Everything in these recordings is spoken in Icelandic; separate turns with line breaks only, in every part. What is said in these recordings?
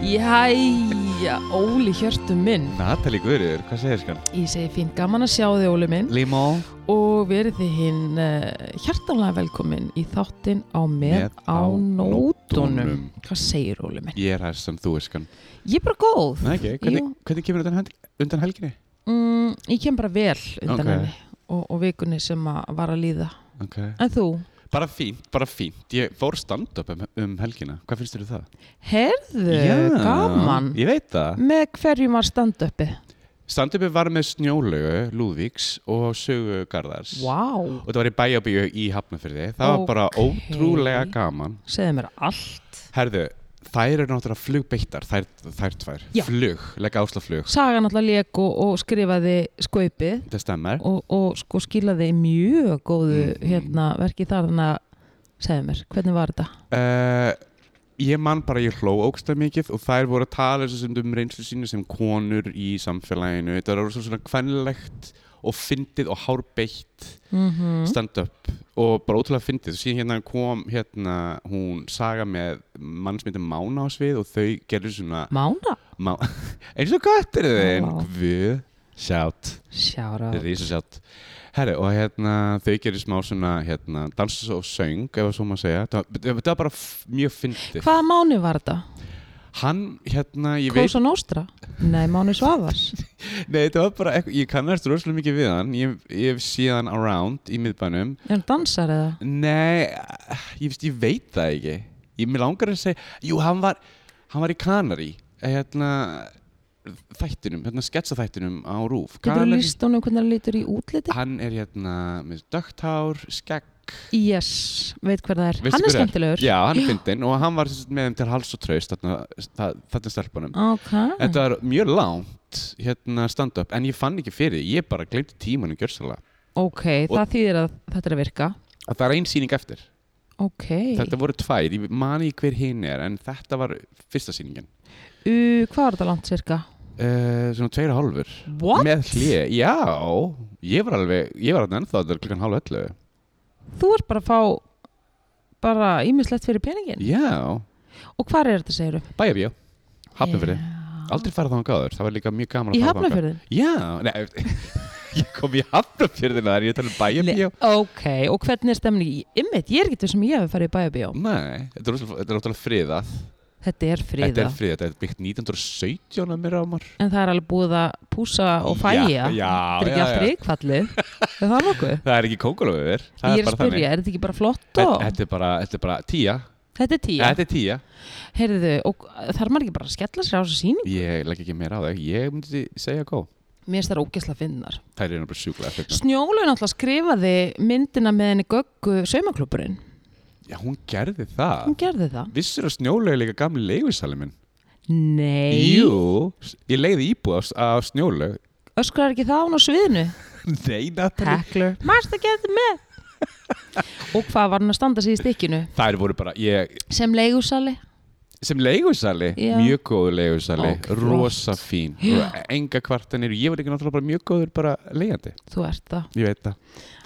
Jæja, Óli Hjörtu minn
Natalie Guðriður, hvað segir skan?
Ég segi fín gaman að sjá þig Óli minn
Limó
og verið þið hinn uh, hjartanlega velkomin í þáttin á með
Með
á
á
nótunum
nótunum.
Hvað segir Óli minn?
Ég er hæst sem þú er skan
Ég er bara góð
Nei ekki, hvernig, hvernig kemur undan, hendi- undan helginni?
mm, Ég kem bara vel undan
Ok.
henni og, og vikunni sem að var að líða
Okay.
En þú?
Bara fínt, bara fínt Ég fór stand-up um, um helgina Hvað finnst þér um það?
Herðu, Eh, gaman Mm.
Ég veit það
Með hverjum var standupið?
Stand-upi var með Snjólaugu, Lúðvíks og Sögu Garðars
Vá, wow.
Og það var í bæjabíu í Hafnafyrði Það var bara
Ókei.
ótrúlega gaman
segðu mér allt
Herðu, þær eru náttúrulega flugbeittar Þær, þær tvær,
Já.
flug, legg ásla flug
Saga náttúrulega leik og, og skrifaði skaupið
Þetta stemmar
og, og sko skilaði mjög góðu hérna, verki þar þannig að segðu mér, hvernig var þetta?
Eh, ég man bara að ég hló ógsta mikið og þær voru að tala þessu sem um reynslu sínu sem konur í samfélaginu þetta var orðið svona kvennlegt og fyndið og hárbeitt Mhm.
Mm.
stand-up og bara ótrúlega fyndið og síðan hérna kom hérna hún saga með mann sem heitir Mána á svið og þau gerðu svona
Mána?
má, eins og gott eru þeim
Vá.
við sjátt
Sjára
Þetta er ísasjátt. Herri, og hérna, þau gerir smá svona, hérna, dansa og söng, ef að svo maður segja. Það, var- þetta var bara f- mjög fyndið.
Hvaða mánu var þetta?
Hann, hérna, ég veit,
Kósa Nostra? Nei, mánu Svavars
nei, þetta var bara, eitthvað, ég kannast rosalega mikið við hann. Ég, ég hef séð hann around í miðbænum.
Er hann dansar eða?
Nei, ég, veist, ég veit það ekki. Ég mér langar að segja, jú, hann var, hann var í Kanari, hérna, þættinum, hérna, sketsaþættinum á Rúf.
Getur þú líst honum hvernig hann lítur í útliti?
hann er hérna með dögthár, skegg,
Yes, veit hver það er
Veistu
Hann er
hver það
skemmtilegur
Já, hann er fyndinn og hann var sem sagt með þeim til hals og traust þarna, þa- þarna stelpunum.
Ok,
Þetta er mjög langt hérna stand-up en ég fann ekki fyrir, því, ég bara glemti tímanum gjörsalega.
ok, það þýðir að þetta er að virka
Að það er ein síning eftir.
Ok,
Þetta voru tvær, ég mani hver hinn er en þetta var fyrsta síningin.
U, hvað var þetta langt cirka?
Uh, svona tveira hálfur.
What?
Með hlið, já. Ég var alveg, ég var alveg ennþá þetta er klukkan hálf öllu.
Þú ert bara að fá bara ímislegt fyrir peningin
Já,
Og hvar er þetta, segiru?
bæjabjó, hafnafyrði.
Já.
Aldrei farið þá hann gáður, það var líka mjög gaman að
Í
fara þangað.
hafnafjörðin?
Já, nei, ég kom í Hafnarfjörðina þar, ég tala um bæjabíó.
Le- Ok, og hvernig er stemning í ymmit? Ég er ekki þessum ég hef farið í bæjabíó
Nei, þetta er rosalega- þetta er ótrúlega friðað.
Þetta er
Þetta
friða,
er friðað, þetta er byggt 1917 að mér á mar.
en það er alveg búið að púsa og fæja
Já, já,
Þetta er ekki
já,
allt
já.
ríkfallið Er það nokkuð?
Það er ekki kókulöfur, það
Ég er
er
að
bara
spyrja,
þannig.
er þetta ekki bara flott og
Þetta er bara, þetta er bara tíja.
Þetta er tíu
Þetta er tíja.
Heyrðu, og þarf maður ekki bara að skella sér á þessu síning?
Ég legg ekki meira á það, ég myndi segja gó.
Mér finnst það ógæsla finnar
Það er bara sjúklega fyrir.
Snjólu náttúrulega skrifaði myndina með henni Göggu saumaklúburinn
Já, hún gerði
Hún
það.
gerði það
Vissur að snjólega líka gamli leigusalinn minn?
Nei,
Jú, ég leiði íbúð á, á snjólega.
öskrar ekki það á hún á sviðinu?
Nei, Natalie.
Teklu Marsta getur með Og hvað var hann að standa sig í stikkinu?
Þær voru bara, ég,
Sem leigusali?
sem leigusali,
Já.
mjög góður leigusali,
Ó, flott.
rosa fín og enga kvartanir, ég var ekki náttúrulega bara mjög góður bara leigjandi,
Þú ert það
ég veit það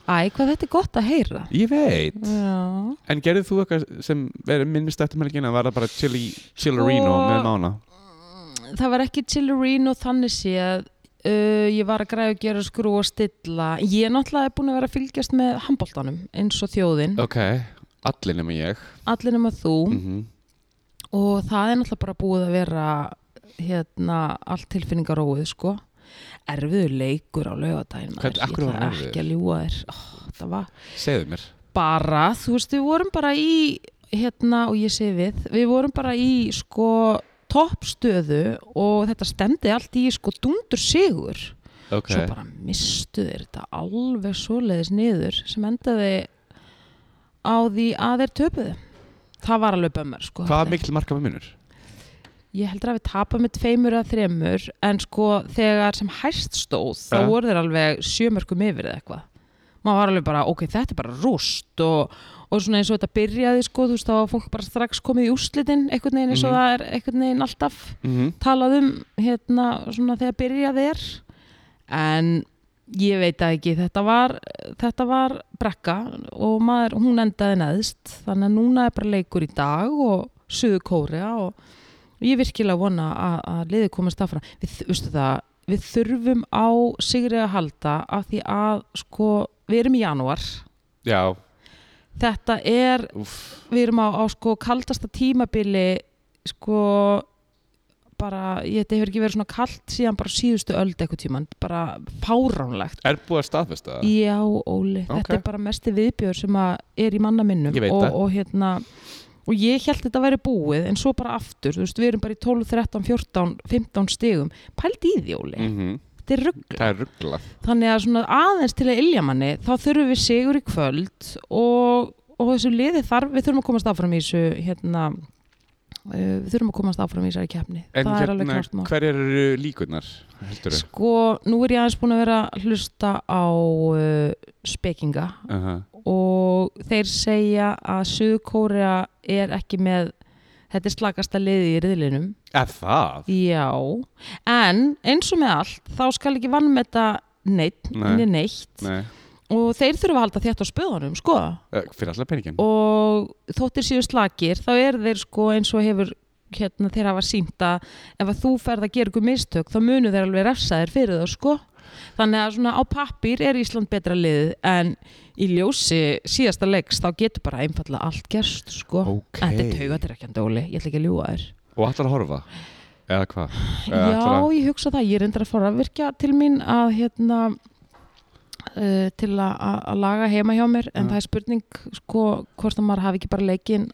Æ, hvað þetta er gott að heyra
ég veit,
Já
en gerðið þú eitthvað sem verið minnist eftir melgina, var það bara chili, chillerino
Sko-
með mána
Það var ekki chillerino þannig séð uh, Ég var að græða að gera skrú og stilla Ég náttúrulega er búin að vera að fylgjast með handbóltanum eins og þjóðin
ok, allir nema ég
Allir nema þú
mm
Og það er náttúrulega bara búið að vera hérna allt tilfinningaróið sko Erfiður leikur á laugardaginn maður.
Hvernig-
Ég
af hverju var
ætla
hann erfiður?
Ekki að ljúga þér Ó, Það var
segðu mér,
bara, þú veist, við vorum bara í hérna og ég segi við við vorum bara í sko toppstöðu og þetta stemdi allt í sko dundur sigur
ok
svo bara mistu þeir þetta alveg svoleiðis niður sem endaði á því að þeir töpuðu það var alveg bömmar sko
hvað mikil marka með munur?
ég heldur að við tapa með tveimur að þremur en sko þegar sem hæst stóð þá
Ja.
voru þeir alveg sjömörkum yfir eða eitthvað maður var alveg bara, ok, þetta er bara rúst og, og svona eins og þetta byrjaði sko, þú veist, þá var fólk bara strax komið í úrslitin einhvern veginn eins og
Mhm.
það er einhvern veginn alltaf
mm -hmm.
talað um hérna svona þegar byrjaði er en ég veit það ekki, þetta var þetta var brekka og maður, hún endaði neðst þannig að núna er bara leikur í dag og suðu kóriða og ég virkilega vona að, að liðið komast af frá við, veistu það, við þurfum á sigri að halda af því að sko, við erum í janúar
Já,
þetta er
úff,
við erum á, á sko kaldasta tímabili sko bara, ég, þetta hefur ekki verið svona kalt síðan bara síðustu öld eitthvað tíman bara fáránlegt
er búið að staðfesta það?
já, Óli, þetta
Ókei.
er bara mesti viðbjör sem að er í manna minnum
Ég veit
og,
það.
og hérna og ég held þetta væri búið en svo bara aftur, þú veist, við erum bara í 12, 13, 14, 15 stigum pælt í því, Óli,
Mhm,
þetta er ruggla
Það er ruggla
þannig að svona aðeins til að ilja manni þá þurfum við sigur í kvöld og, og þessu liði þarf við þurfum að komast áfram í þessu hérna, uh, við þurfum að komast áfram í þessari keppni
En
það er alveg
hérna,
klart mál
hverjar eru líkurnar? Heldur þau?
sko, nú er ég aðeins búin að vera að hlusta á uh, spekinga og þeir segja að Suðkórea er ekki með þetta er slakasta liði í riðlinum
Er það?
Já, en eins og með allt þá skal ekki vannmeta neitt,
Nei.
né neitt
Nei,
og þeir þurfa að halda þétt á spöðunum sko
Eh, fyrir allar peningin
og þóttir síðu slakir þá er þeir sko eins og hefur hérna þeir hafa sínt að ef að þú ferð að gera ykkur mistök þá munu þeir alveg refsa þér fyrir það sko þannig að svona á pappir er Ísland betra lið en í ljósi síðasta leiks þá getur bara einfallega allt gerst sko
Ok
en þetta er taugatirrekkjandi Óli, ég ætla ekki að ljúga þér
Og allar að horfa? Eða hvað? Eða ætlar
Já,
að-
ég hugsa það, ég er endur að fara að virka til mín að hérna uh, til að, að að laga heima hjá mér en
Mm.
það er spurning sko hvort að maður hafi ekki bara leikinn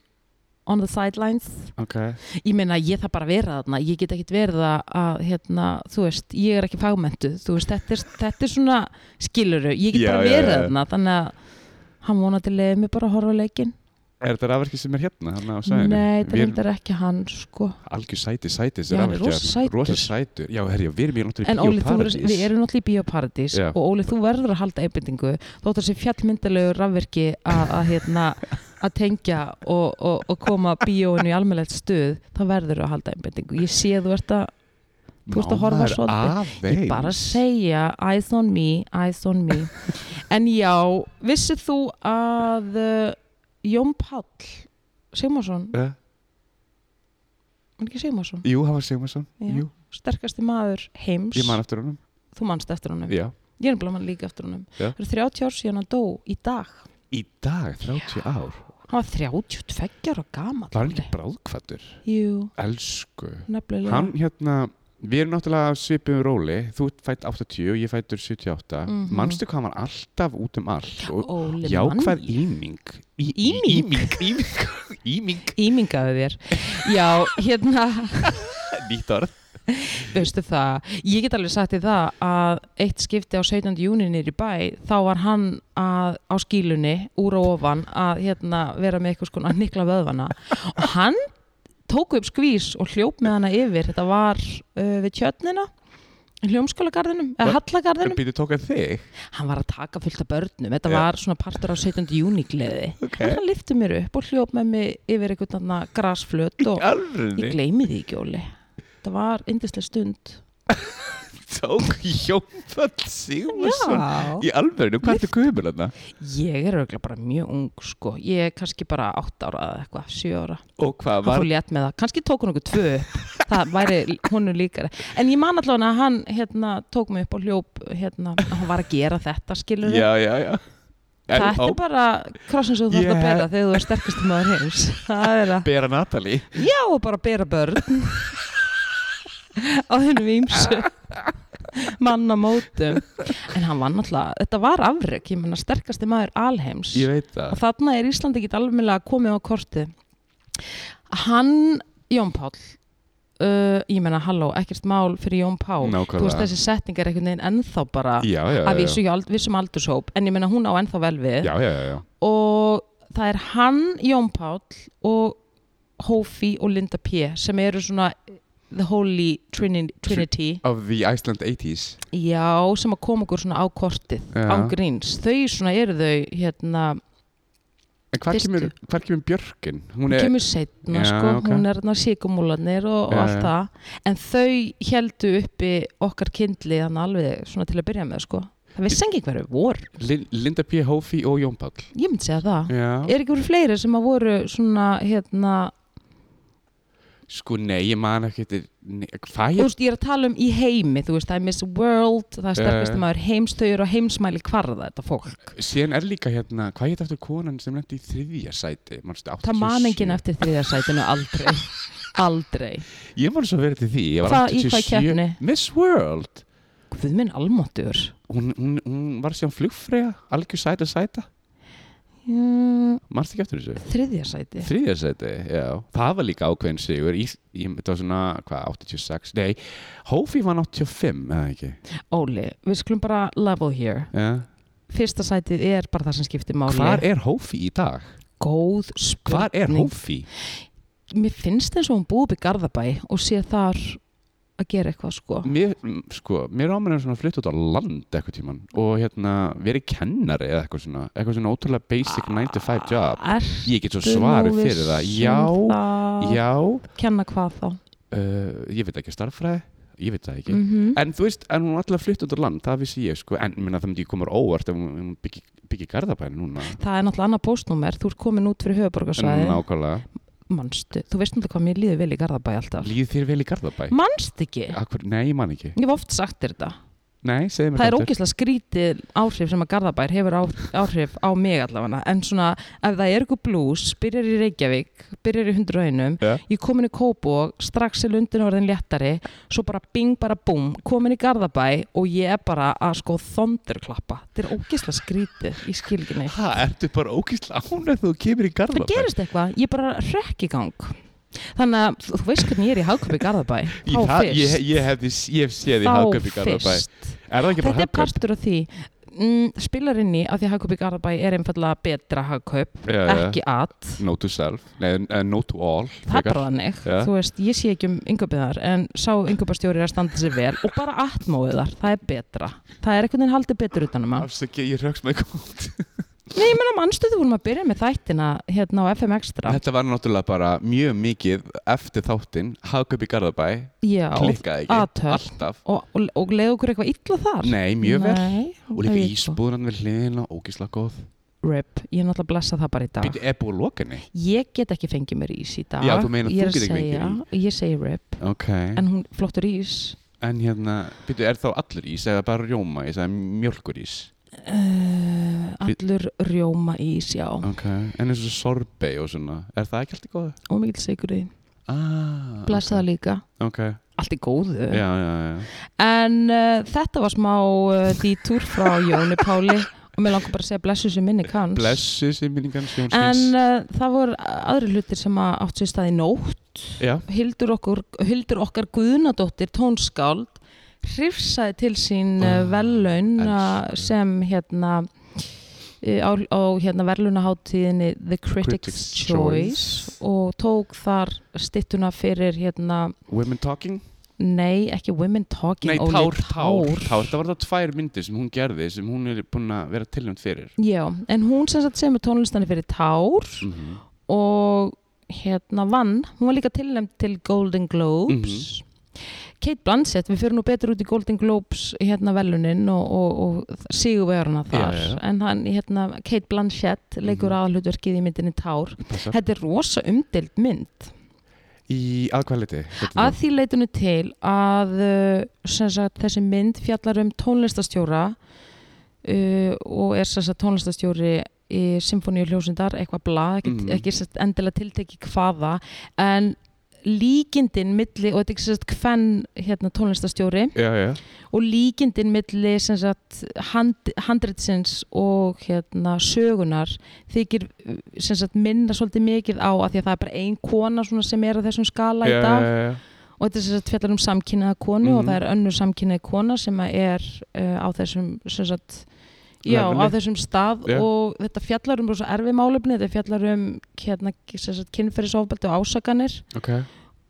on the sidelines
Ok
ég meina ég þarf bara að vera þarna ég get ekkit verið að, að hérna, þú veist, ég er ekki fagmentu þú veist, þetta er, þetta er svona skiluru ég get
Já,
bara
já,
að vera
já, já.
þarna þannig að hann vonandi leiði mig bara að horfa leikinn
Er þetta rafverki sem er hérna? hérna á svæðinu?
nei,
Við
þetta
erum-
er ekki hann sko
algjör sæti, sæti þessi
Já, hann er
rafvirkjar.
rosa sætur.
rosa sætur Já, herri, við erum í náttúrulega
En
í
Óli, þú er,
Bíóparadís.
við erum náttúrulega í Bíóparadís
Já.
og Óli, þú verður að halda einbendingu þótt að sé fjallmyndalegu rafverki að að, hérna, að tengja og, og, og koma bíóinu í almennlegt stuð, þá verður að halda einbendingu Ég sé að þú ert að, þú ert að horfa
Nánar
svolítið.
aðeins.
ég bara segja eyes on me, eyes on me En já, vissið þú að uh, Jón Páll Sigmarsson,
Eh,
var ekki Sigmarsson
Jú, það var Sigmarsson
Já.
Jú,
sterkasti maður heims,
ég man eftir honum
þú manst eftir honum
Já
Ég er nefnilega mann líka eftir honum.
Já.
Það eru 30 ár síðan hann dó í dag.
Í dag, 30 ár
Hann var 32 ára gamall.
Var hann ekki bráðkvættur?
Jú,
Elsku
nefnilega.
Hann hérna Við erum náttúrulega svipum róli Þú ert fætt 80 og ég fættur 78
Mhm.
Manstu hvað hann var alltaf út um allt og
Óli
Jákvæð
mann.
íming Í-
Íming?
Íming Íming Íming
Ímingaði þér. Já, hérna,
Nýtt orð
veistu það, ég get alveg sagt í það að eitt skipti á 17. júni nýri bæ, þá var hann að, á skílunni úr og ofan að hérna, vera með eitthvað skona að nikla vöðvana og hann tók upp skvís og hljóp með hana yfir, þetta var uh, við tjörnina, hljómskólagarðinum, eða hallagarðinum.
Býtu tók að þig
hann var að taka fullt af börnum þetta
Já.
var svona partur á 17. júni gleði
Ok.
hann lifti mér upp og hljóp með mig yfir einhvern annan grasflöt og ég
Alveg
gleymi því ekki Óli þetta var yndislega stund
Tók Jónfald Sigmarsson
Já,
Í alveg, hvað ertu guðmur þarna?
ég er auðvitað bara mjög ung sko, ég er kannski bara 8 ára eða eitthvað, 7 ára,
Og hvað
hann
var
fór létt með það kannski tók hann okkur tvö upp, það væri honum líkari, en ég man allavega að hann hérna, tók mig upp og hljóp hérna, hann var að gera þetta skilur
Já, já, já En
Þetta er
á
bara krossin sem þú þarf
Ég-
að bera þegar þú er sterkast maður heims. Það er að,
Bera Natalie
já, og bara bera börn á þennum ímsu manna mótum. En hann var náttúrulega, þetta var afrek, ég menna sterkasti maður alheims.
Ég veit það
Og þarna er Íslandi ekki alveg komið á kortið. Hann, Jón Páll, uh, ég menna, halló, ekkert mál fyrir Jón Pál.
Nákvæmlega.
Þú veist, þessi setning er einhvern veginn ennþá bara
Já, já,
að
já,
vísu, hjá ald- vissum aldurshóp, en ég menna hún á ennþá vel við
já, já, já, já.
og það er hann, Jón Páll og Hófi og Linda P sem eru svona eh, The Holy Trini- Trinity
Of the Iceland 80s
já, sem að koma okkur svona á kortið
Já.
á gríns, þau svona eru þau hérna,
En hvað
Fyrstu.
kemur, hvar kemur Björkin? Hún
hún
er,
kemur setna
Já,
sko,
ok.
hún er þarna síkumúlanir og,
Já,
og allt
já.
það en þau heldu uppi okkar kindli þannig alveg svona til að byrja með sko það vissi ekki hverju vor,
Lin, Linda P. Hófi og Jón Páll
ég myndi segja það
Já
er ekki voru fleiri sem að voru svona hérna,
Sko nei, ég man ekki eftir nei, Hvað
þú
ég
veist ég er að tala um í heimi þú veist það er Miss World, það er
Já,
sterkast
já.
maður heims, þau eru á heimsmæli kvarða þetta fólk,
Síðan er líka hérna Hvað heit eftir konan sem lendi í þriðja sæti? Manstu,
það man enginn
87.
eftir þriðarsætinu aldrei aldrei,
Ég man svo verið til því Ég var
Hvað- í hvað
87
keppni?
Miss World
hvað minn almáttur
Hún, hún, hún var síðan flugfreyja Algjör sæta sæta
mm,
Manstu ekki eftir þessu?
þriðarsæti
Þriðja sæti, já Það var líka ákveðin sigur í, í, Það var svona, hvað, 86 Nei, Hófi var 85, eða ekki
Óli, við skulum bara level here
Já
fyrsta sætið er bara það sem skiptir máli
Hvar er Hófi í dag?
góð
Hvar er
spurning
Hófi?
mér finnst eins og hún búið upp í Garðabæ og sé þar að gera eitthvað sko
Mér, m, sko, mér ámennir svona að flytta út á land eitthvað tíman og hérna verið kennari eða eitthvað svona, eitthvað svona ótrúlega basic
Ah.
9 to 5 job.
er
Ég get svo svarið fyrir það. Já,
um það
já,
kenna hvað þá
uh, ég veit ekki starffræði, ég veit það ekki.
mm
En þú veist, en hún er alltaf flytta út á land, það vissi ég sko, en ég meina það myndi ég koma á óvart ef hún, ef hún byggi, byggi garðabæni núna.
það er náttúrulega annað postnúmer þú ert komin út fyrir höfuborgarsvæði
Nákvæmlega.
manstu, þú veist náttúrulega hvað mér líður vel í Garðabæ alltaf
Líð þér vel í garðabæ?
manstu ekki,
Akkur, nei, ég man ekki.
ég hef oft sagt þér þetta
Nei, segðu mér
það er
aftur.
ógeðslega skrítið áhrif sem að Garðabær hefur á, áhrif á mig allavega en svona ef það er eitthvað blús byrjar í Reykjavík, byrjar í hundru einum
Ja.
ég komin í Kópog, strax er lundin orðin léttari, svo bara bing bara búm, komin í Garðabæ og ég er bara að sko þondurklappa þetta er ógeðslega skrítið í skilginni
Ha, ertu bara ógeðslega ánægð þú kemur í garðabæ?
það gerist eitthvað, ég bara rekk í gang þannig að þú- þú veist hvernig ég er í hagköp í Garðabæ
Í
þá
það- Ég,
fyrst,
ég, hef, ég hef séð í
þá
Hagkaup í Garðabæ
fyrst
Er það ekki
Þetta
bara
er
Hagkaup?
partur af því mm, spilar inn í að því að hagkaup í Garðabæ er einfallega betra hagkaup
Já, já.
ekki at,
No to self, nei, uh, no to all
það er bara þannig
Já.
þú veist, ég sé ekki um yngöpiðar en sá yngöpastjóri að standa sér vel og bara atmóðar, það er betra það er einhvern veginn haldið betur utanum að
Afsaki, ég röks með gótt
Nei, ég menna mannstu þú vorum að byrja með þættina hérna á FM Extra
Þetta var náttúrulega bara mjög mikið eftir þáttinn Hagkaup í Garðabæ,
Já,
klikkaði ekki
athöfn.
Alltaf
og, og, og leið okkur eitthvað illa þar
Nei, mjög vel
Nei,
Og
það
líka
er eitthvað.
ísbúðan við hliðina, ógeðslega góð
Rip, ég er náttúrulega að blessa það bara í dag
Býtu, er búið að loka henni?
Ég get ekki fengið mér ís í dag
Já, þú meinar
Ég er
þú getur
að
ekki fengið
segja- Ég segi rip,
Ok, en,
en hún flottur ís
hérna, býtu, er þá allur ís eða bara rjóma ís eða mjölkur ís?
Uh, allur rjóma ís, já
Ok, en eins og sorbei og svona, er það ekki alltaf góð?
og mikill sigur í,
Ah,
blessa það líka
Ok,
allt í góðu
já, já, já
en uh, þetta var smá uh, dítúr frá Jóni Páli og mér langar bara að segja blessu sem minni kanns
Blessu sem minningan Sjónsteins
en uh, það voru aðri hlutir sem að átt sér stað í nótt
Já,
hildur, okkur, hildur okkar guðnadóttir tónskáld hrifsaði til sín uh,
Ah,
velun
elsku.
sem hérna eh, á, á hérna verðlunaháttíðinni The Critics,
Critics'
Choice
Choice.
og tók þar stittuna fyrir hérna,
Women Talking
nei ekki Women Talking
Nei,
Óli,
tár, tár, tár Það var það tvær myndir sem hún gerði sem hún er búin að vera tilnæmt fyrir
Já, en hún sem sagt semur tónlistanir fyrir Tár
mm -hmm.
og hérna vann, hún var líka tilnæmt til Golden Globes
Mhm.
Kate Blanchett, við fyrir nú betur út í Golden Globes hérna velunin og, og, og sigurvegarna þar
Já, já, já.
en hann, hérna, Kate Blanchett leikur mm
Mhm.
aðalhutverkið í myndinni Tár þetta er rosa umdild mynd
Í aðkvæliti
að því leitinu til að uh, sem sagt, þessi mynd fjallar um tónlistastjóra uh, og er sem sagt, tónlistastjóri í symfóníu hljósundar eitthvað bla, ekki,
Mhm.
ekki sem sagt, endilega tilteki hvaða en líkindin milli og þetta er ekki sem sagt hvern hérna, tónlistastjóri
Já, já
og líkindin milli sem sagt, hand, handritsins og hérna, sögunar þykir sem sagt, minna svolítið mikið á að því að það er bara ein kona svona sem er á þessum skala í
já,
dag
já, já.
og þetta er sem sagt fjallar um samkynnaða konu
Mhm.
og það er önnur samkynnaða kona sem að er uh, á þessum sem sagt Já,
Leveli.
á þessum stað
Já.
og þetta fjallar um rosa erfi málefni, þetta fjallar um hérna, sem sagt, kynferðisofbeldi og ásakanir
Ok,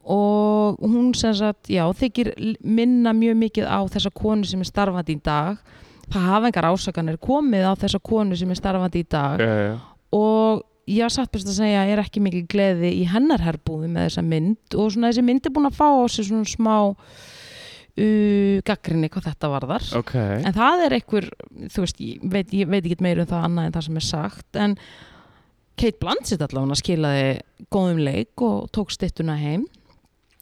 og hún sem sagt, já, þykir l- minna mjög mikið á þessa konu sem er starfandi í dag það hafa engar ásakanir komið á þessa konu sem er starfandi í dag
já, já.
og já, satt best að segja, er ekki mikil gleði í hennar herbúðu með þessa mynd og svona þessi mynd er búin að fá á sig svona smá uh, gaggrinni hvað þetta varðar
ok
en það er einhver, þú veist, ég veit, ég veit ekki meira um það annað en það sem er sagt en Kate Blanchett allavega skilaði góðum leik og tók stittuna heim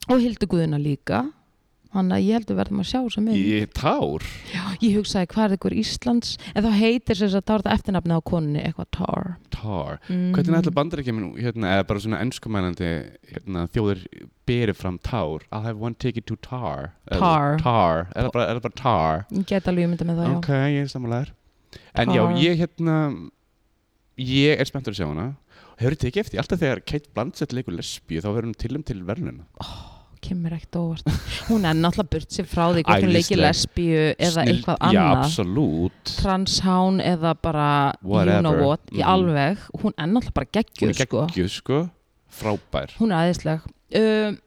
og hildi guðuna líka þannig að ég held að við verðum að sjá þessa mynd
í tár
ég hugsaði hvað er ykkur Íslands en þá heitir sem sagt, þá er þetta eftirnafni á konunni eitthvað tar
tár
mm.
hvernig ætla bandar ekki hérna, eða bara svona ennskumælandi hérna, þjóðir berið fram tár I'll have one ticket to tar Eða
Tar.
tar, er það bara, er það bara tar
Ég get alveg mynda með það,
ok, ég er samanlegar en já,
Tar.
ég hérna ég er spenntur að sjá hana og hefur tekið eftir, því, alltaf þegar Kate Blanchett leikur lesbíu þá verður hún tilum til verðluna
já, kemur ekkert óvart. Hún er náttúrulega burt sér frá því hvort hún leikir
Æðisleg.
lesbíu eða
Snill-
eitthvað
já,
annað,
absolút
transhán eða bara you know
Whatever.
what, í
Mhm.
alveg, hún er náttúrulega bara
hún
geggjuð,
er
sko.
geggjuð sko, frábær
Hún er æðisleg. Um,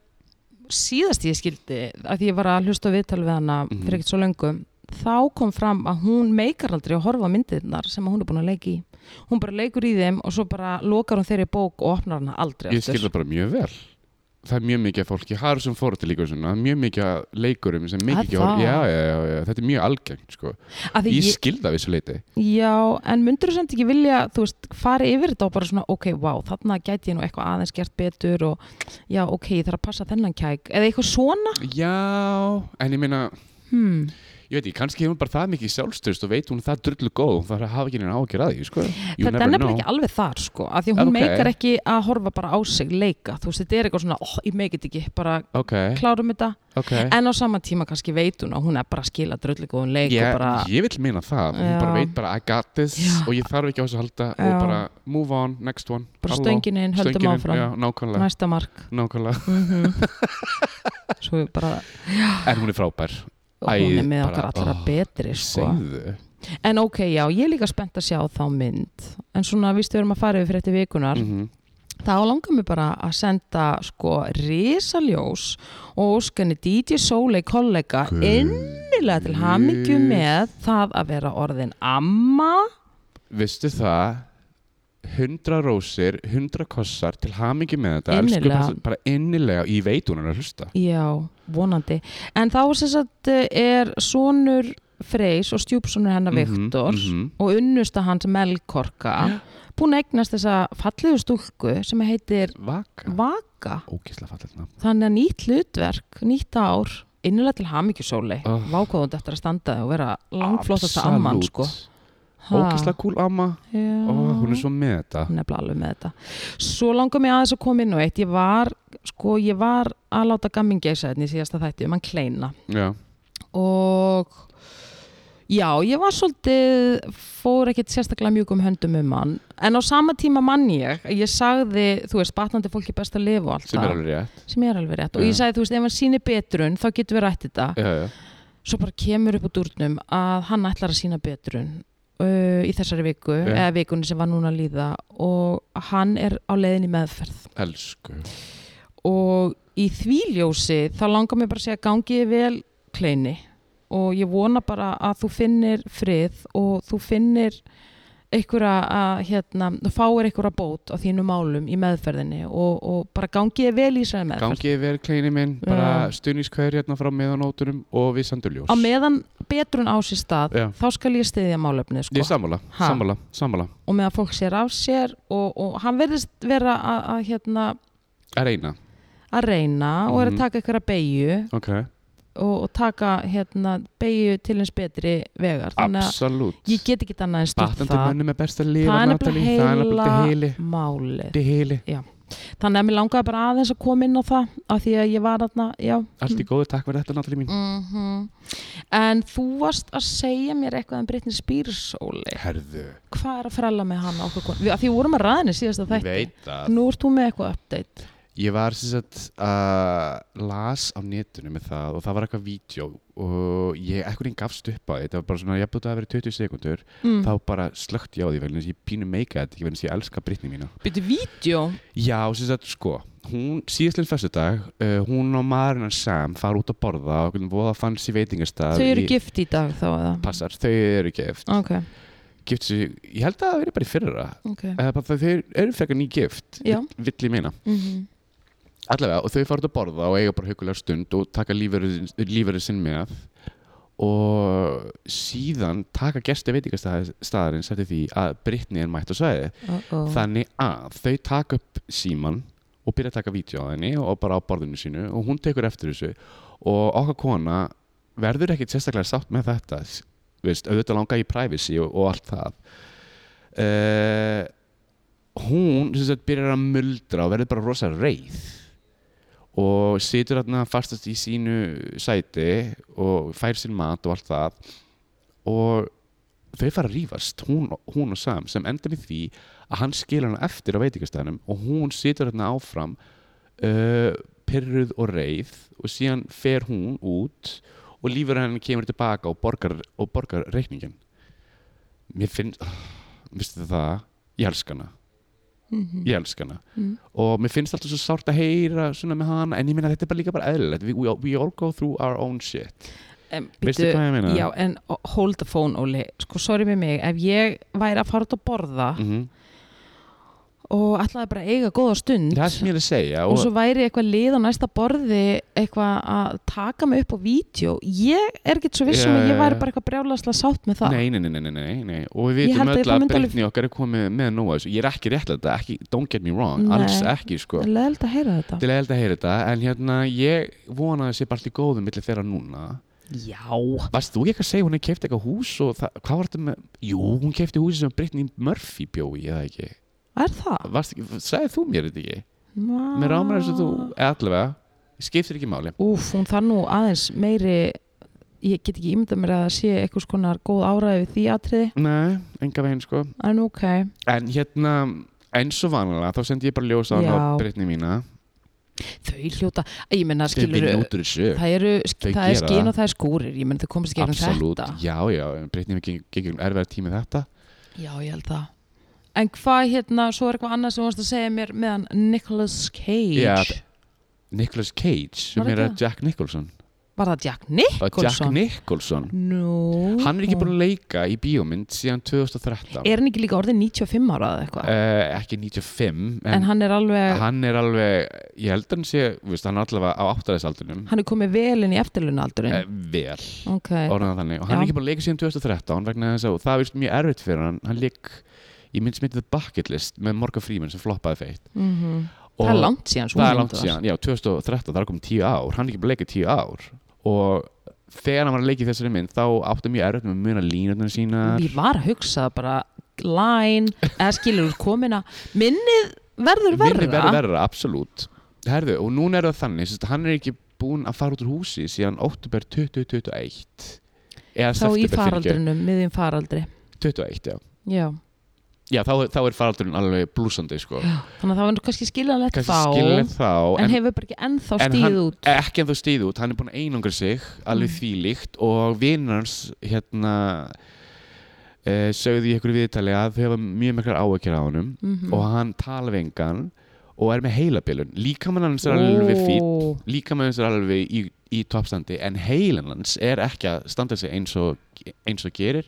síðast ég skildi, að ég var að hlusta á viðtal við hana
Mhm.
fyrir ekkert svo löngu, þá kom fram að hún meikar aldrei að horfa á myndirnar sem að hún er búin að leika í. Hún bara leikur í þeim og svo bara lokar hún þeirri í bók og opnar hana aldrei
ég skil það bara mjög vel það er mjög mikið af fólki, Harrison Ford er líka svona mjög mikið af leikurum sem mikið
Er
ekki
það?
horf- já, já, já, já, þetta er mjög algengt sko.
Af því
ég skil það við svo leiti
Já, en myndur þú samt ekki vilja, þú veist, fara yfir þetta og bara svona, ok, wow, þarna gæti ég nú eitthvað aðeins gert betur og já, ok, ég þarf að passa þennan kæk, eða eitthvað svona?
já, en ég meina
Hmm.
ég veit ekki, kannski hefur hún bara það mikið sjálfstöðst og veit hún það drullu góð, hún þarf að hafa ekki neina ágjör að því sko. You
Þetta
never
er nefnilega
know.
ekki alveg þar, sko, af því að hún
Ok.
meikar ekki að horfa bara á sig leika, þú veist, þetta er eitthvað svona, oh, ég meikit ekki, bara
ok,
klárum þetta,
ok
en á sama tíma kannski veit hún að hún er bara að skila drullegóðun leik
ég,
og bara,
ég vil meina það,
Já.
hún bara veit bara I got this
Já.
og ég þarf ekki á þessu að halda
Já.
og bara move on, next one
bara
Halló.
stöngin inn, höldum
Stöngin inn,
áfram,
já, nákvæmlega,
næsta mark,
nákvæmlega.
mm svo við bara,
en hún er frábær Æ,
hún er með
bara,
okkar allra
oh,
betri, sko.
segðu
En ok, já, ég er líka spennt að sjá þá mynd en svona, vístu, við erum að fara yfir þetta vikunar
Mhm.
þá langar mér bara að senda sko risaljós og óskanni DJ Sólei kollega
Guð.
innilega til hamingju með það að vera orðin amma
Vistu það 100 rósir, 100 kossar til hamingi með þetta
Innilega.
Elsku passa- bara innilega, ég veit hún er að hlusta
Já, vonandi. En þá sem sagt eh, er sonur Freys og stjúpsonur hennar
Mhm,
Viktor
mhm.
og unnusta hans Melkorka búin að eignast þessa fallegu stúlku sem heitir
Vaka,
Vaka
ógislega fallet nafn
Þannig að nýtt hlutverk, nýtt ár innilega til hamingjussóli
Oh.
oh. vákóðund eftir að standa og vera langflottasta amman sko. Ha.
Ógislega kúl amma
Já.
Ó, Hún er svo með þetta
Hún er bara alveg með þetta Svo langar mér aðeins að koma inn og eitt Ég var, sko, ég var að láta gamming geisa þetta í síðasta þætti um hann kleina
Já,
og já, ég var svolítið fór ekkert sérstaklega mjúkum höndum um hann en á sama tíma mann ég ég sagði, þú veist, batnandi fólki best að lifa og allt
sem
það.
er alveg rétt
sem er alveg rétt og ég
Já.
sagði, þú veist, ef hann sýnir betrun þá getum við rætt þetta
Já, já.
svo bara kemur upp úr durnum að hann ætlar að sína betrun uh, í þessari viku,
Já.
eða vikunni sem var núna að líða og hann er á leiðin í meðferð
Elsku
og í því ljósi þá langar mér bara að segja gangi ég vel kleini og ég vona bara að þú finnir frið og þú finnir einhverja að hérna, þú fáir einhverja bót á þínum málum í meðferðinni og, og bara gangi ég vel í þessari meðferð
Gangi verið kleini minn, bara stuðnískvæður hérna frá meðanóturum og við sendum ljós
á meðan betrun á sér stað
Já.
þá skal ég stiðja málefnið
Ég
sko.
er sammála,
Ha.
sammála, sammála
og meðan fólk sér af sér og, og hann verðist vera að, að, hérna,
Er eina,
að reyna og er
Mhm.
að taka einhverja beigju
ok
og, og taka hérna, beigju til eins betri vegar þannig að
Absolutt
ég get ekki annað en stutt
Batandi
það
mönnum er best að lifa
það er
Natalie. Það er
nefnilega
nefnilega
heila
heili
málið
Þetta er heili,
þannig að mér langaði bara aðeins að koma inn á það af því að ég var þarna, já
allt í góðu, takk fyrir þetta Natalie mín
mm en þú varst að segja mér eitthvað um Brittany Spears Óli,
Herðu,
hvað er að frella með hann á okkur konu? Við- af því við vorum að ræðinni síðast að
ég
þætti
veit að
nú ert þú með eitthvað update
Ég var sem sagt að las á netinu með það og það var eitthvað vídeo og ég ekkert einn gafst upp á því, þetta var bara svona, ég búið að vera 20 sekundur
mm.
þá bara slökkt ég á því vegna þess að ég pínu meika þetta ekki vegna þess að ég elska brittni mína
Byrju, vídeo?
Já, sem sagt, sko, hún síðastlega fyrstudag, uh, hún og maðurinn hans Sam fara út að borða og voða fanns í veitingastað
Þau eru
í-
gift í dag þá eða?
Passar, þau eru gift
Ok,
gift sig, ég held að það veri bara í fyrra
ok.
eða bara þau eru frekar ný gift
Mm. Já.
vill ég meina
Mm
allavega og þau fara út að borða og eiga bara hugulega stund og taka lífverið sinn með og síðan taka gesti veitingastæðarins eftir því að Brittany er mætt á svæði
uh -oh.
þannig að þau taka upp síman og byrja að taka vídeo á henni og bara á borðinu sínu og hún tekur eftir þessu og okkar kona verður ekkit sérstaklega sátt með þetta s- veist, auðvitað langar í privacy og, og allt það uh, hún sem sagt byrjar að muldra og verður bara rosa reið og situr þarna fastast í sínu sæti og fær sér mat og allt það og þau fara að rífast, hún, hún og Sam sem endar með því að hann skilur hann eftir á veitingastæðanum og hún situr hérna áfram uh, pyrruð og reið og síðan fer hún út og lífur henni kemur tilbaka og borgar, og borgar reikningin mér finnst oh, vistu það, ég elska hana ég elska hana
Mm.
og mér finnst alltaf svo sárt að heyra svona með hana en ég minna þetta er bara líka bara eðlilegt we, we, we all go through our own shit veistu hvað ég meina?
Já, en ó, hold the phone, Óli. Sko, sorry með mig, ef ég væri að fara út að borða
mm
og ætlaði bara að eiga góða stund
það er sem ég er að segja
og svo væri eitthvað lið á næsta borði eitthvað að taka mig upp á vídeo ég er ekki svo vissum
Já,
að
já,
ég væri
já.
bara eitthvað brjálaslega sátt með það
Nei, nei, nei, nei, nei, nei, nei. og við
Ég
vitum
held að
öll
það
að
myndi alveg-
breytni okkar er komið með nóa þessu, ég er ekki réttlega þetta, ekki, don't get me wrong,
Nei.
alls ekki sko,
Það er leðilt að heyra þetta
til að held að heyra þetta en hérna, ég vona að það sé bara allt í góðum millir þeirra núna,
Já,
varst þú ekki að segja hún er keift eitthvað hús og það, hvað var þetta með jú, hún keifti húsi sem Brittany Murphy bjói, eða ekki,
er það?
varst ekki sagði þú mér þetta ekki,
Má...
mér rámar þess að þú
Ah.
eða allavega, skiptir ekki máli
Úf, hún þar nú aðeins meiri ég get ekki ímynda mér að það sé eitthvað skonar góð áræði við því atriði
nei, enga veginn sko
en ok,
en hérna, eins og vanlega þá sendi ég bara ljós á hann
Já.
á Brittany mína
þau hljóta ég menna
sem
skilur
vinna út úr þessu
það eru
Þau
það er
gera
skinn
það.
og það er skúrir ég menn þau komast ekki
Absolutt,
þetta
já, já, breytnum við gegn um erfiðar tími þetta
Já, ég held það. En hvað hérna, svo er eitthvað annað sem þú varst að segja mér meðan Nicolas Cage.
Já, Nicolas Cage, sem
Var
er
þetta?
að Jack Nicholson
Var það Jack
Að
Nicholson?
Jack Nicholson,
Nú.
hann er ekki búin að leika í bíómynd síðan 2013
Er hann ekki líka orðið 95 ára eða eitthvað?
Eh, ekki 95
en,
en,
hann er alveg,
hann,
hann,
er alveg, ég held að hann sé viðst, hann er allavega á áttaraðisaldunum
er komið vel inn í eftirlunaldurinn.
eh, vel,
ok.
orðan þannig og hann
Eh, Já.
er ekki búin að leika síðan 2013 vegna þess að og það er víst mjög erfitt fyrir hann hann leik, ég mynd sem heitir The Bucket List með Morgan Freeman sem floppaði feitt
Mm það
Og-
er langt síðan. svo
það er
mynd
langt
var.
síðan, já, 2013, það er komið tíu ár hann er ekki búin að leika í tíu ár og þegar hann var að leika í þessari mynd þá átti mjög erfitt með að muna línutnar sína
Ég var að hugsa bara line, eða skilur úr komina. Minnið verður verra.
verður verra, absolutt Herðu, og núna er það þannig, sérst, hann er ekki búin að fara út úr húsi síðan oktober 2021 eða
Þá í
september fyrirgefðu.
faraldrinum, miðjum faraldri.
21, já
Já.
Já, þá, þá er faraldurinn alveg blúsandi, sko
Þannig að það var nú kannski skiljanlegt
Kanski
þá.
skilnið þá
en, hefur bara ekki ennþá
en
stíð
hann-
út
ekki en þú stíð út, hann er búin að einangra sig alveg
Mm.
þvílíkt og vinnur hans hérna uh, sögðu í einhverju viðtali að þau hafa mjög miklar áhækjur á honum
mm -hmm.
og hann tala við engan og er með heilabilun líkamann hans er alveg fín líkamann hans er alveg í, í toppstandi en heilin hans er ekki að standa sig eins og, eins og gerir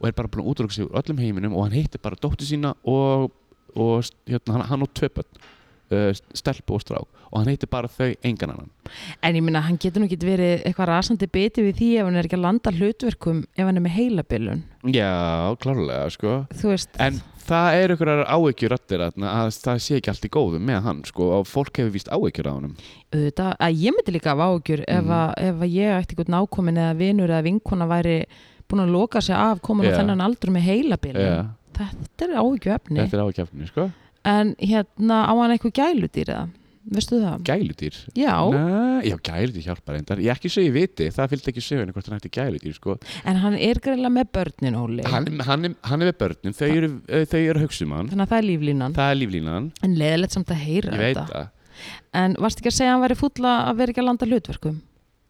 og er bara búin að útrúka sig úr öllum heiminum og hann heitir bara dóttur sína og, og hérna, hann, hann og tvöpöld uh, stelpu og strák og hann heitir bara þau engan annan
en ég minna hann getur nú ekki verið eitthvað rasandi biti við því ef hann er ekki að landa hlutverkum ef hann er með heilabilun
Já, klárlega, sko.
þú veist,
En það er einhverjar áhyggjur rættir að það sé ekki allt í góðu með hann, sko, og fólk hefur víst áhyggjur á honum.
auðvitað, að ég myndi líka af ágjur ef,
Mhm.
að, ef að ég ætti einhvern nákomin eða vinur eða vinkona væri búin að loka sig af komin á
Já.
þennan aldur með heilabilun
Já,
þetta er ágjur efni
þetta er áhyggjafni, sko.
en hérna á hann eitthvað gæludýr eða, veistu það?
Gæludýr.
Já,
Nei, já, gæludýr hjálpar reyndar. Ég ekki svo ég viti, það fylgdi ekki sögurinn hvort hann ætti gæludýr, sko.
en hann er greiðlega með börnin Óli
Hann, hann, er- hann er með börnum, þau eru, eh, þau eru að hugsa um hann.
þannig að það er líflínan
Það er líflínan,
en leðilegt samt að heyra
ég veit
þetta
það.
En varst ekki að segja að hann væri fúll að að vera ekki að landa hlutverkum?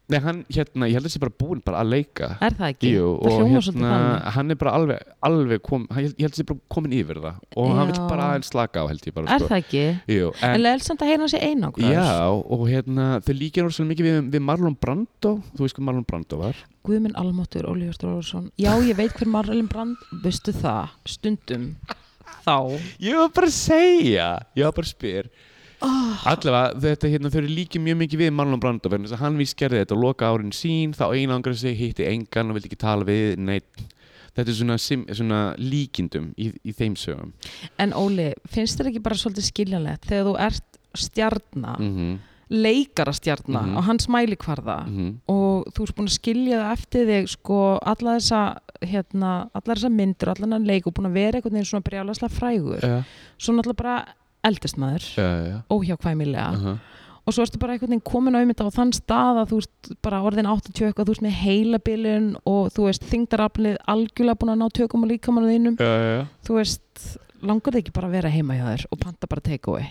Nei, hann, hérna, ég held að þessi bara búinn bara að leika
er það ekki?
Jú,
það
og
hljómar svolítið
hérna,
þannig.
hann er bara alveg, alveg kom, hann, ég held að sé bara komin yfir það og hann
Já.
vil bara aðeins slaka á held ég bara, sko.
Er það ekki?
Jú,
En
en,
leðilsamt að heyra hann sé einangraður.
já, og hérna, þau líkir orðslega mikið við, við Marlon Brando, þú veist hvað Marlon Brando var
Guðminn Almáttur, Ólífur Stróðarsson. Já, ég veit hver Marlin Brand, veistu það, stundum, þá.
Ég var bara að segja, ég var bara að spyr
Ah.
Allavega, þetta hérna, þau eru líkið mjög mikið við Marlon Brando vegna þess að hann víst gerði þetta og loka árin sín, þá einangra sig, hitti engan og vildi ekki tala við, neitt Þetta er svona, sim, svona líkindum í, í þeim sögum
En Óli, finnst þér ekki bara svolítið skiljanlegt þegar þú ert stjarnar, mm.
mm -hmm,
leikara stjarnar
Mhm.
á hans mælikvarða
Mm.
og þú ert búin að skilja það eftir þig sko alla þessa, hérna, alla þessa myndur, allan að leik og búin að vera einhvern veginn svona brjálaslega frægur.
Já,
Svo náttúrulega bara eldist maður,
já, já
óhjákvæmilega.
aha.
og svo ertu bara einhvern veginn komin á einmitt á þann stað að þú ert bara orðin 80 eitthvað, þú ert með heilabilun og þú veist þingdaraflið algjörlega búin að ná tökum á líkamannu þínum
Já, já, já
þú veist, langar þið ekki bara að vera heima hjá þér og panta bara takeaway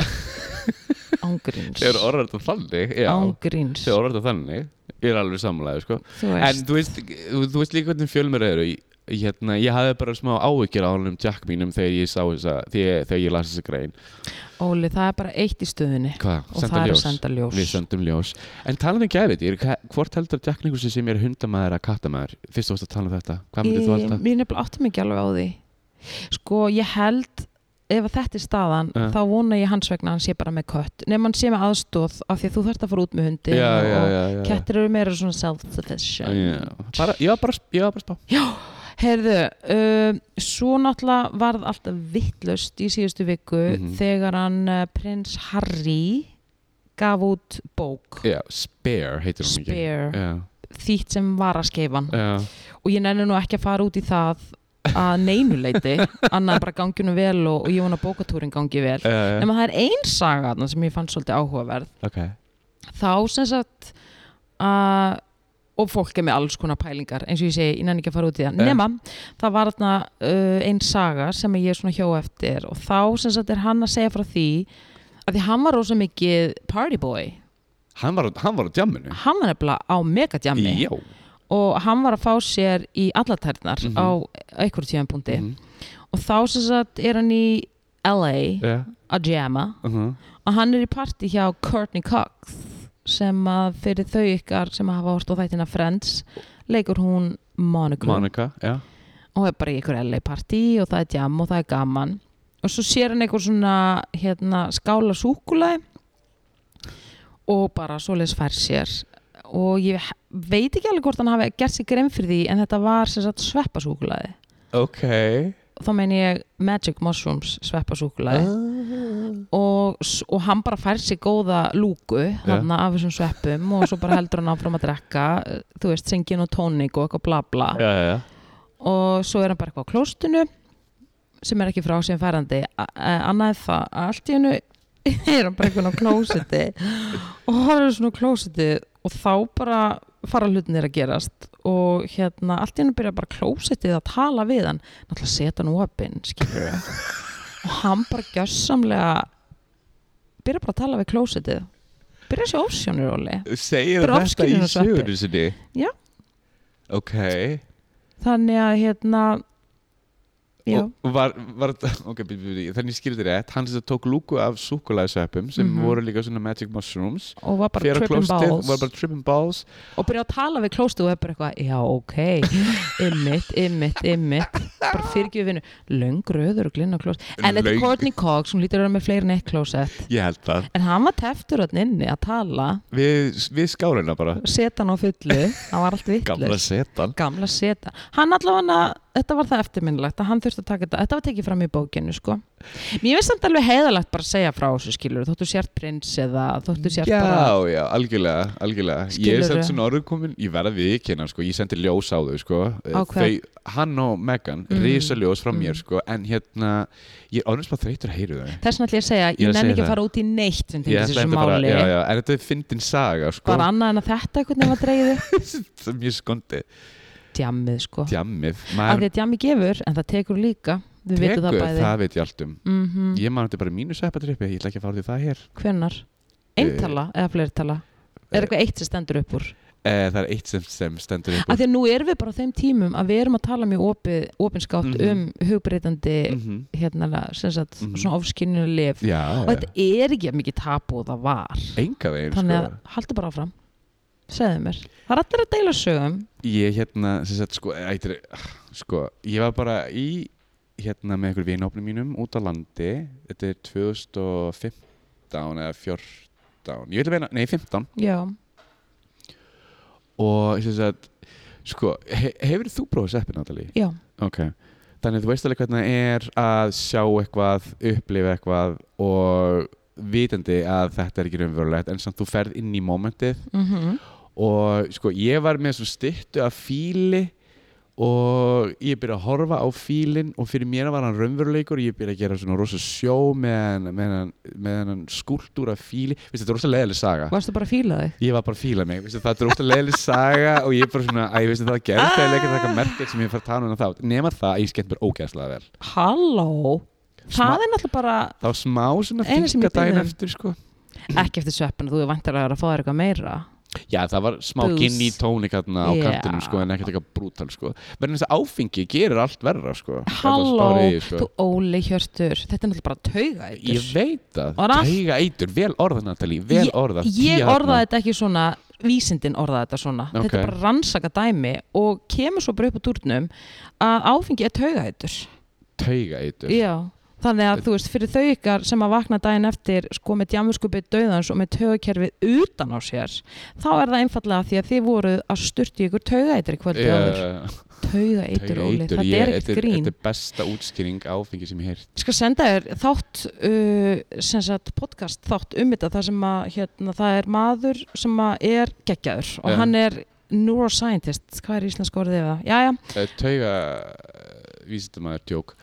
ángríns
Þau eru orðar þetta þannig, já
ángríns
Þau eru orðar þetta þannig, ég er alveg samlega, sko
þú
En
veist,
þú veist, þú, þú veist líka hvernig fjölmur eru Ég- Hérna, ég hafði bara smá áhyggjur á honum Jack mínum þegar ég sá þessa þegar, þegar ég las þessa grein
Óli, það er bara eitt í stöðunni
Hvað?
og
Senda
það er að
ljós?
senda ljós
Við sendum ljós En talað um gæfitir, hvort heldur að Jack Nicholson sem er hundamæður að kattamæður? Fyrst þú veist að tala um þetta, hvað myndir þú
Ég-
alltaf?
Mér nefnilega áttum ekki alveg á því Sko, ég held ef að þetta er staðan,
Ja.
þá vona ég hans vegna að hann sé bara með kött, nefn hann sé með aðstóð af því að þú þarft að fara út með hundi
Já, já,
og
já, já.
kettir eru meira svona self-sufficient
Já, bara, já, bara, sp- já, bara spá
Heyrðu, um, svo náttúrulega varð alltaf vittlust í síðustu viku
Mhm.
þegar hann uh, prins Harry gaf út bók
Já, Spare heitir hún ekki
Spare,
Já,
þýtt sem var að skeifan
já,
og ég nenni nú ekki að fara út í það að neynuleiti annað en bara gangjunum vel og, og ég vona að bókatúrin gangi vel
já, já.
nema það er ein saga þarna sem ég fann svolítið áhugaverð
Ok
þá sem sagt að og fólk er með alls konar pælingar eins og ég segi, ég nenni ekki að fara út í það
Eh.
nema, það var þarna uh, ein saga sem ég er svona hjó eftir og þá sem sagt er hann að segja frá því að því hann var rosa mikið partyboy,
Hann var, á- hann var á djamminu
hann var nefnilega á megadjami
Já
og hann var að fá sér í allatærnar
Mhm.
á einhverju tíðanbúndi
Mhm.
og þá sem sagt er hann í LA
Já,
að jamma
mhm.
og hann er í parti hjá Courtney Cox sem að fyrir þau ykkar sem hafa hort á þættina Friends leikur hún Monica,
Monica, já
og hún er bara í einhverju LA parti og það er jam og það er gaman og svo sér hann einhver svona hérna, skála súkulaði og bara svoleiðis fær sér og ég he- veit ekki alveg hvort hann hafi gert sér grein fyrir því en þetta var sem sagt sveppasúkulaði
Ok
þá meina ég Magic Mushrooms sveppasúkulaði
Ah.
og, og hann bara fær sér góða lúku þarna af þessum sveppum og svo bara heldur hann áfram að drekka eh, þú veist, syngin og tónik og eitthvað bla bla
Já, já, já
og svo er hann bara eitthvað á klóstinu sem er ekki frá sem færandi A- eh, annað en það, að allt í hennu er hann bara eitthvað á klósiti og hann er svona á klósiti og þá bara fara hlutinir að gerast og hérna, allt í hennu byrja bara klósitið að tala við hann náttúrulega setja hann opinn, skilur og hann bara gjössamlega byrja bara að tala við klósitið byrja að sjá ofsjónur, Óli
Segir
Bara
þetta í
ofskynjun og sveppi.
sögurinn sinni?
Já.
Ok
þannig að hérna já,
Og og var, var, ok, byrju, byrju, þannig skildir rétt hann sem þetta tók lúku af súkulæðsveppum sem
Mhm.
voru líka svona magic mushrooms
og var bara
Fer á
tripping
klósettið,
balls
var bara tripping balls
og byrja að tala við klóstu og er bara eitthvað, já ok ymmit, ymmit, ymmit bara fyrirgjöfinu, löng röður og glinna klóst, en þetta
Löng.
er Courtney Cox hún lítur að vera með fleiri en eitt klósett
ég held það
en hann var teftur hann inni að tala
við, við skálina bara
seta hann á fullu, hann var allt
gamla
vittlust
setan
gamla seta, hann allavega þetta var það eftirminnilegt að hann þurfti að taka þetta þetta var tekið fram í bókinu sko mér finnst þetta alveg heiðalegt bara að segja frá þessu skilur þóttu sért prins eða þóttu sért bara
já, já, algjörlega, algjörlega ég er
Skilurðu?
samt svona orðið komin, ég verða við ekki hennar sko, ég sendi ljós á þau sko
Á hvern?
þau, hann og Megan,
Mm.
risa ljós frá mér
Mm.
sko, en hérna ég er ánveg bara þreytur að heyru þau
þess vegna ætla ég að segja,
Ég er
ég
að
nenni
segja
ekki að
það.
fara út í neitt sem
Ég
tengist
ætla
þessu
enda bara-
máli
já, já, en þetta er fyndin saga sko,
bara annað en að þetta einhvern veginn var dreigðu
það er mjög skondi
djammið sko
djammið,
af
maður
því að djammi gefur en það tekur líka við veitum það
tekur,
bæði
það veit ég allt um
mm
ég man þetta bara í mínu sveppatrippi, ég ætla ekki að fara því það hér
hvennar, eintala eða fleirtala er eitthvað eitt sem stendur Eh, upp úr
Eh, það er eitt sem, sem stendur upp
Af því að nú erum við bara á þeim tímum að við erum að tala mjög opið, opinskátt
Mhm.
um hugbreytandi
mm -hmm.
hérna, sem sagt,
Mhm.
svona ofskynjuleif
Já,
og þetta er ekki að mikið tapu og það var
enga veginn
þannig
sko.
að haldi bara áfram segðu mér, það er allir að deila sögum
Ég hérna, sem sagt, sko, eitri, sko Ég var bara í hérna með einhver vinópnum mínum út á landi Þetta er 2015 eða 14 Ég vil meina, nei 15
já,
Og sem sagt, sko, he, hefur þú prófað seppi, Natalie?
já,
Ok, þannig að þú veist alveg hvernig það er að sjá eitthvað, upplifa eitthvað og vitandi að þetta er ekki raunverulegt en samt þú ferð inn í momentið
mhm
og sko ég var með svona styttu af fíli og ég byrja að horfa á fílin og fyrir mér var hann raunveruleikur og ég byrja að gera svona rosa sjó með hann, með hann, með hann skúltúr af fíli, veist þetta er rosa leiðileg saga
varstu bara að fíla þig
Ég var bara að fíla mig, veistu, það er ótt að leiðileg saga og ég er bara svona, að ég veist að það gerð það er leikert eitthvað merkert sem ég fara að tala um það nema það að ég skemmt mér ógæðslega vel
halló,
Smá-
það er náttúrulega bara
Það var smá svona
Eina sem ég
fíka daginn
byrði um.
eftir sko
ekki eftir sveppina, þú er vantar að vera að fá þér eitthvað meira
Já, það var smá
Booze.
ginn í tónik hérna á
Já.
kantinum sko en ekkert eitthvað brútal sko verðin þess að áfengi gerir allt verra sko Þetta
halló,
spárið í, sko.
þú óli hjörtur þetta er náttúrulega bara tauga
Ég veit það,
Var allt-
tæga eitur, vel orða Natalie, vel orða
ég
Tía
orðaði
þarna.
þetta ekki svona vísindin orðaði þetta svona þetta
Ok.
er bara rannsaka dæmi og kemur svo bara upp á durnum að áfengi er taugahættur
Tauga eitur
já Þannig að þú veist, fyrir þau ykkar sem að vakna daginn eftir sko með djámurskupið döðans og með taugakerfið utan á sér þá er það einfallega því að þið voruð að styrti ykkur taugaitur í kvöldu yeah. áður Taugaitur, Óli, þetta
eitur,
er ekkert grín
Þetta er besta útskýring áfengi sem ég heyrt
Ég skal senda þér þátt uh, sem sagt podcast þátt um þetta þar sem að hérna, það er maður sem að er geggjaður og
Já.
hann er neuroscientist, hvað er íslensk orðið yfir það? Jæja,
uh, tauga vísindamæður djók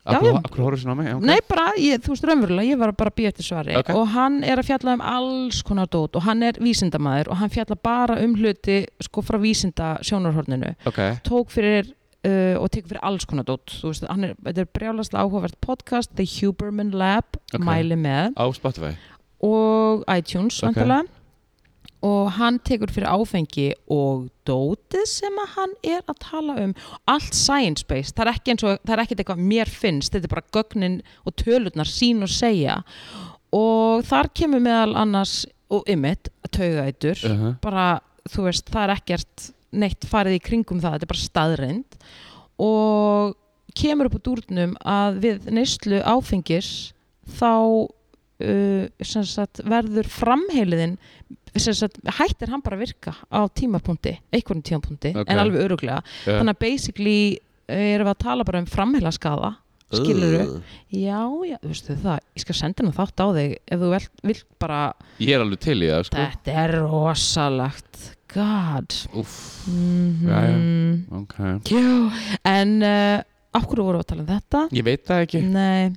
Já,
Akkur
já.
akkur horfður svona á mig? Já, ok.
nei bara, ég, þú veist raunverulega, ég var bara að býja eftir svari
Ok.
og hann er að fjalla um alls konar dót og hann er vísindamaður og hann fjalla bara um hluti sko frá vísinda sjónarhorninu
Ok,
tók fyrir uh, og tekur fyrir alls konar dót þú veist, hann er, þetta er brjálaslega áhugavert podcast The Huberman Lab,
Ok.
mæli með
á Spotify
og iTunes
Ok.
okay. og hann tekur fyrir áfengi og dótið sem að hann er að tala um allt science based, það er ekki eins og það er ekkert eitthvað mér finnst, þetta er bara gögnin og tölurnar sín og segja og þar kemur meðal annars og ymmit, taugætur
uh -huh.
bara, þú veist, það er ekkert neitt farið í kringum það, þetta er bara staðreind og kemur upp úr dúrnum að við neyslu áfengis þá uh, sem sagt, verður framheiliðin sem sagt, hættir hann bara að virka á tímapunkti, einhvern tímapunkti
Ok.
en alveg öruglega, þannig að basically erum við að tala bara um framheilaskaða skilurðu? já, já, þú veistu það, ég skal senda hennar þátt á þig ef þú vilt, vilt bara
Ég er alveg til í það sko
Þetta er rosalegt God
Úff,
mm
ok
En uh, af hverju voru að tala um þetta?
Ég veit það ekki
Nei,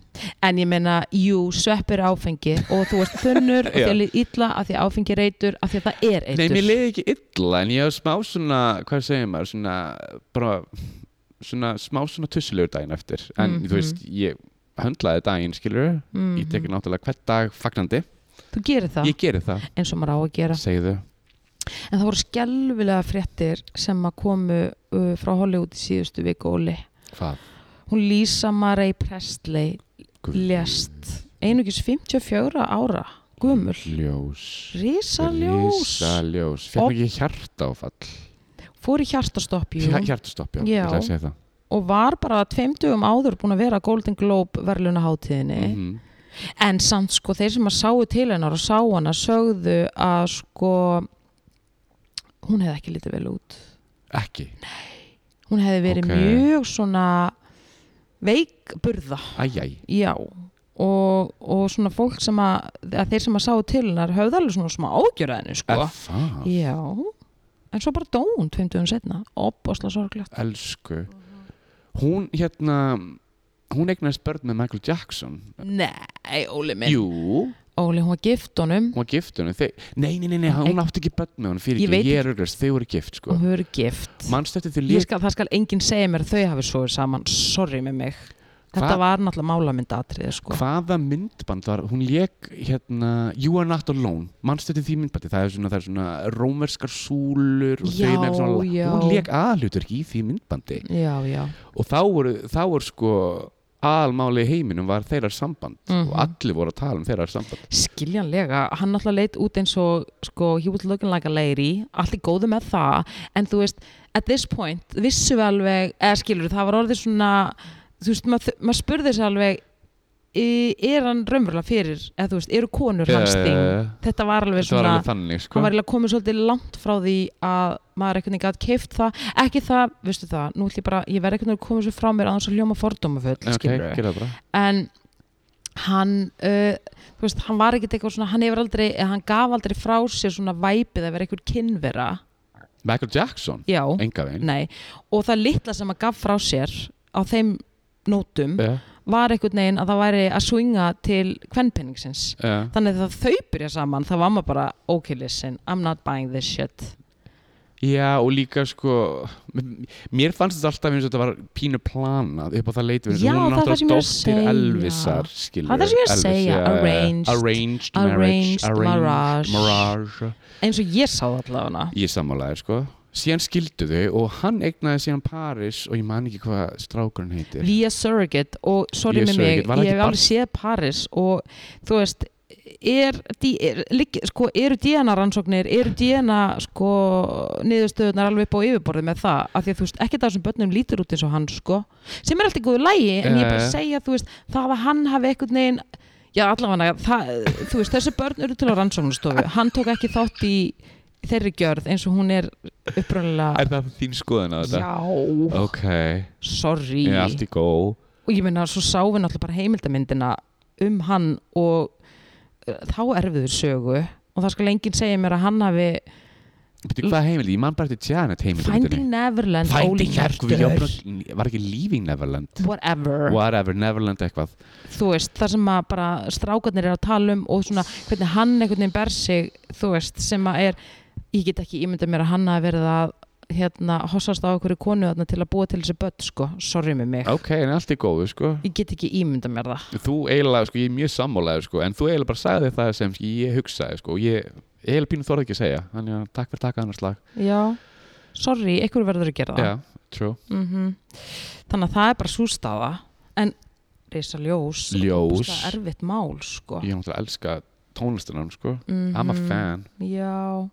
en ég meina jú, sveppir er áfengi og þú ert þunnur og
Já.
þér líð illa af því að áfengi er eitur af því að það er eitur
Nei, mér leiði ekki illa en ég hef smá svona, hvað segir maður svona, bara svona, smá svona tussulegur daginn eftir en
Mhm.
þú veist, ég höndlaði daginn skilur, ég teki náttúrulega hvert dag fagnandi,
Mm. Þú gerir það
ég geri það
eins og maður á að gera
segðu,
En það voru skelvilega fréttir sem að komu uh, frá Hollywood í síðustu viku Óli
hvað?
Hún Lisa Marie Presley
Guð.
lést einugis 54 ára gömul
ljós
Rísaljós
Rísaljós, fekk
Og-
ekki hjartáfall
Fór í hjartastopp jú,
Hjartastopp, já,
Já.
ég ætla að segja það
og var bara tveimtugum áður búin að vera á Golden Globe verðluna hátíðinni
Mhm.
en samt sko þeir sem að sáu til hennar og sá hana sögðu að sko hún hefði ekki litið vel út
Ekki,
hún hefði verið
Ok.
mjög svona veikburða
æjæj
já og, og svona fólk sem að, að þeir sem að sáu til hennar höfðu alveg svona smá ágjörðinu sko
Það,
já en svo bara dó hún tveimtugum setna opbosla sorglegt
elsku Hún hérna Hún eignaðist börn með Michael Jackson
Nei, Óli minn
Jú,
Óli, hún var gift honum
hún var gift honum Þe... Nei, nei, nei, nei, hún átti ekki börn með honum Fyrir
Ég veit
ekki, ég er auðvist, þau voru gift sko.
og hún verið gift
Manstu eftir því
Ég
lét
skal, það skal enginn segja mér að þau hafi svoðið saman sorry með mig Þetta
Hvað-
var náttúrulega málamyndatriði sko.
hvaða myndband var, hún lék hérna, You Are Not Alone mannstu til því myndbandi, það er svona, það er svona rómerskar súlur og
Já,
þeim er svona,
já.
hún lék aðlutur í því myndbandi
Já, já.
og þá voru, þá voru sko aðalmáli í heiminum var þeirra samband
Mhm.
og allir voru að tala um þeirra samband
Skiljanlega, hann náttúrulega leit út eins og sko, he was looking like a lady allt í góðu með það, en þú veist at this point, vissu við alveg eða skilur, það var orðið svona þú veist, maður maður spurði sér alveg "E- er hann raunverulega fyrir eða þú veist, eru konur hans
Eh,
þing þetta var alveg
þetta var
svona
alveg þannig sko
hann var eiginlega komið svolítið langt frá því að maður einhvern veginn gæti keift það ekki það, veistu það, nú ætlum ég bara ég verð einhvern veginn að koma svo frá mér að hann svo hljóma fordómafull
ok,
skilurðu
gera það bara
en hann uh, þú veist, hann var ekkert eitthvað svona hann hefur aldrei, eða hann gaf aldrei frá sér svona væpið að vera einhver kynvera
Michael Jackson,
já,
enga veginn
nei og það litla sem hann gaf frá sér á þeim nótum
uh,
var einhvern veginn að það væri að swinga til kvenpenningsins
uh,
þannig að það þau byrja saman þá var maður bara, ok listen, I'm not buying this shit
já og líka sko m- mér fannst þetta alltaf eins og þetta var pínu planað upp á það leitu
Já, það er það sem ég er að segja.
Elvisar, skilur,
Það er það sem ég er að segja, arranged-
arranged,
arranged
marriage, arranged
marriage.
marriage.
eins og ég sá það allavega
ég sammálaði sko síðan skildu þau og hann egnaði síðan Paris og ég man ekki hvað strákurinn heitir
Via Surrogate og sorry
Via
með mig,
Surrogate, var
ég
það ekki
hef alveg séð Paris og þú veist er, di- er, ligg, sko, eru DNA rannsóknir eru DNA sko, niðurstöðunar alveg upp á yfirborðið með það af því að þú veist, ekki það sem börnum lítur út eins og hann sko, sem er allt í góðu lægi en ég er bara
Eh.
að segja, þú veist, það að hann hafi einhvern veginn, já allavega það, þú veist, þessi börn eru til á rannsóknastofu hann tók ekki þátt í þeirri gjörð eins og hún er upprunnilega
er það þín skoðun að þetta?
já,
ok,
sorry
ég er allt í góð
og ég meina svo sá við náttúrulega bara heimildamyndina um hann og uh, þá erfiður sögu og það skal enginn segja mér að hann hafi
Bíddu, hvað heimildi, ég man bara til Janet heimildi
Finding Neverland
Finding
ólíkjörtur,
Neverland var ekki Leaving Neverland
whatever
whatever, Neverland eitthvað
þú veist, það sem að bara strákarnir er að tala um og svona hvernig hann einhvern veginn ber sig þú veist, sem að er ég get ekki ímyndað mér að hann hafi verið að hérna, hossast á einhverju konu þarna til að búa til þessi börn, sko, sorry með mig
ok, en allt í góðu sko
ég get ekki ímyndað mér það
þú eiginlega, sko, ég er mjög sammálaður sko, en þú eiginlega bara sagði það sem ég hugsaði sko, og ég ég eiginlega pínu þorði ekki að segja þannig að takk fyrir að taka annars lag
já, sorry, einhverju verður að gera það
yeah, true.
-hmm. þannig að það er bara sústafa en reysa ljós
ljós,
það er erfitt mál sko
ég náttúrulega elska tónlistunum sko
Mhm.
I'm a fan
já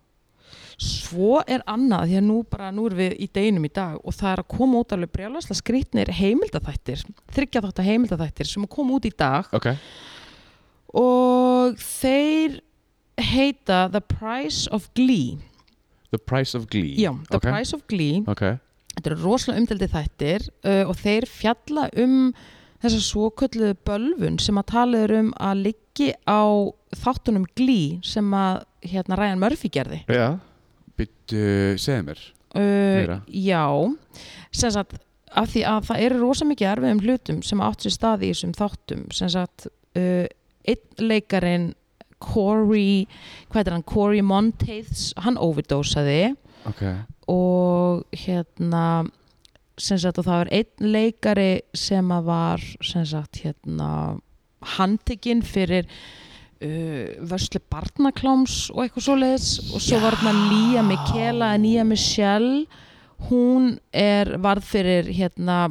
svo er annað því að nú bara nú erum við í deginum í dag og það er að koma út alveg brjálæslega skrýtnir heimildaþættir þryggja þátt að heimildaþættir sem kom út í dag
Ok,
og þeir heita The Price of Glee
The Price of Glee
já, The
Ok.
Price of Glee
Ok,
þetta eru rosalega umdeldið þættir uh, og þeir fjalla um þessa svo kölluðu bölvun sem að tala er um að liggi á þáttunum glí sem að hérna Ryan Murphy gerði
já Byttu, segðu mér
uh,
Meira.
Já sem sagt af því að það eru rosa mikið erfiðum hlutum sem átt sér staði í þessum þáttum sem sagt uh, einn leikarin Corey hvað er hann, Corey Monteiths hann overdosaði
Ok,
og hérna sem sagt og það var einn leikari sem að var sem sagt hérna handtekinn fyrir uh, vörslu barnakláms og eitthvað svoleiðis og svo var þarna Lía Mikela en Lía Michelle hún er varð fyrir hérna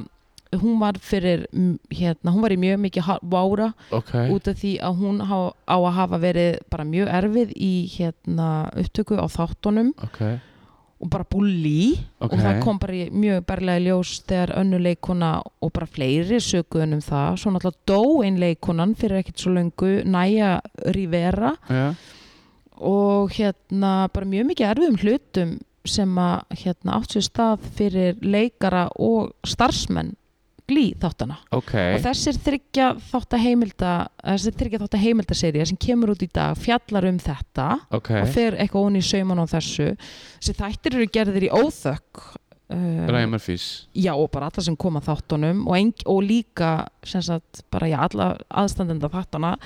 hún var fyrir mm, hérna, hún var í mjög mikið ha- vára
ok
út af því að hún á, á að hafa verið bara mjög erfið í hérna upptöku á þáttunum
Ok,
og bara búli
ok
og það kom bara í mjög berlega í ljós þegar önnu leikona og bara fleiri sökuðun um það svo náttúrulega dó ein leikonan fyrir ekkit svo löngu Næja Rivera
Já,
og hérna bara mjög mikið erfiðum hlutum sem að hérna átt sér stað fyrir leikara og starfsmenn glý þáttana
ok
og þessir þryggja þátt að heimilda þessir þryggja þátt að heimildaserja sem kemur út í dag fjallar um þetta
Ok,
og fer eitthvað onni í sauman á þessu þessi þættir eru gerðir í óþökk uh,
Ræmar Fís
já og bara alla sem koma þáttunum og, eng, og líka sem sagt bara já alla aðstandenda þáttuna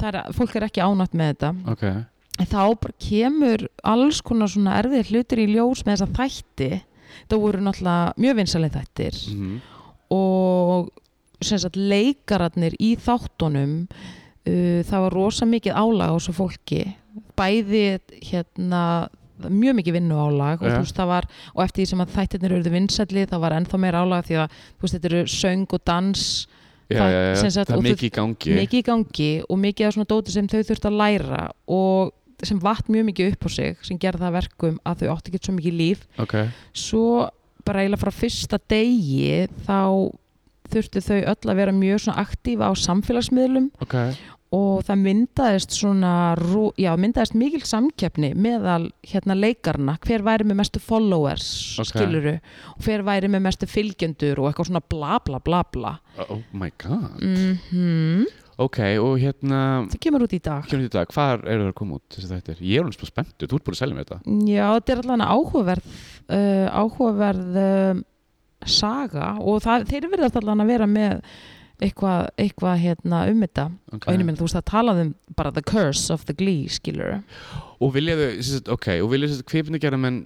það er að fólk er ekki ánætt með þetta
Ok,
en þá bara kemur alls konar svona erfið hlutir í ljós með þessa
Mm.
þætti það voru náttúrulega mjög vinsalegi þættir
mhm
og sem sagt, leikararnir í þáttunum uh, það var rosa mikið álag á þessu fólki bæði hérna mjög mikið vinnu álag og,
Já.
þú veist, það var, og eftir því sem að þættirnir eruðu vinsælli það var ennþá meira álag því að þú veist, þetta eru söng og dans
já,
það-
já, já,
sem sagt, og
það
þú-
er mikið í gangi
mikið í gangi og mikið af svona dóti sem þau þurft að læra og sem vatt mjög mikið upp á sig sem gerði það að verkum að þau átti ekki svo mikið líf
ok,
svo bara eiginlega frá fyrsta degi þá þurftu þau öll að vera mjög svona aktífa á samfélagsmiðlum
ok
og það myndaðist svona rú- já, myndaðist mikil samkeppni meðal hérna leikarna, hver væri með mestu followers,
Ok.
skiluru og hver væri með mestu fylgjendur og eitthvað svona bla bla bla bla
oh my god
mm
ok, og hérna,
það kemur út í dag
kemur þetta, hvað eru það að koma út þessi þættir, ég er alveg spá spenntur, þú ert búin að selja mér þetta
já, þetta er allan áhugaverð uh, áhugaverð uh, saga og það, þeir verðast allan að vera með eitthvað, eitthvað hérna um þetta og einu minn þú veist að talað um bara the curse of the glee skiluru
Og viljaðu, sérst, ok, og viljaðu sérst, kvipindagerðamenn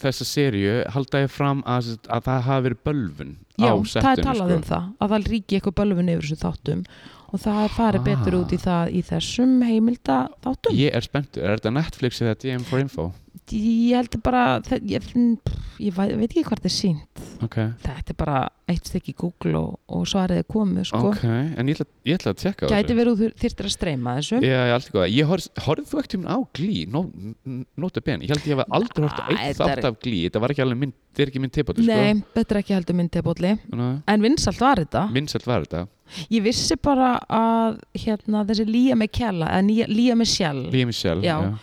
þessa sériu halda ég fram að, sérst, að það hafi verið bölvun
Já,
á
það er
settinu,
talað
sko.
um það, að það ríki eitthvað bölvun yfir þessu þáttum og það er farið
Ah.
betur út í það í þessum heimilda þáttum.
Ég er spenntur, er þetta Netflix eða DM for Info?
Ég, ég held bara, þe- ég, pff, ég væ- veit ekki hvað þetta er sínt.
Ok,
Þetta er bara eitt stykki Google og, og svariði komið, sko.
ok, en ég ætla, ég ætla að tjekka á
Gæti verið þú þyrftir að streyma þessu.
Já, ég allt í góða. Ég horfði, horfði þú ekkert um á Glee, no, n- nota bene. Ég held ég hef aldrei
Nei,
horfði eitt
Ah, þetta er-
þátt af Glee. Þetta var ekki alveg minn, þetta er ekki minn tippotu, sko.
Nei, Ah. þetta er ekki heldur myndabóli.
Nei.
En vinsalt var þetta.
Vinsælt var þetta.
Ég vissi bara að hérna, þessi Lía með Kjalla, eða Lía með Sjall,
Lía Michelle.
Já.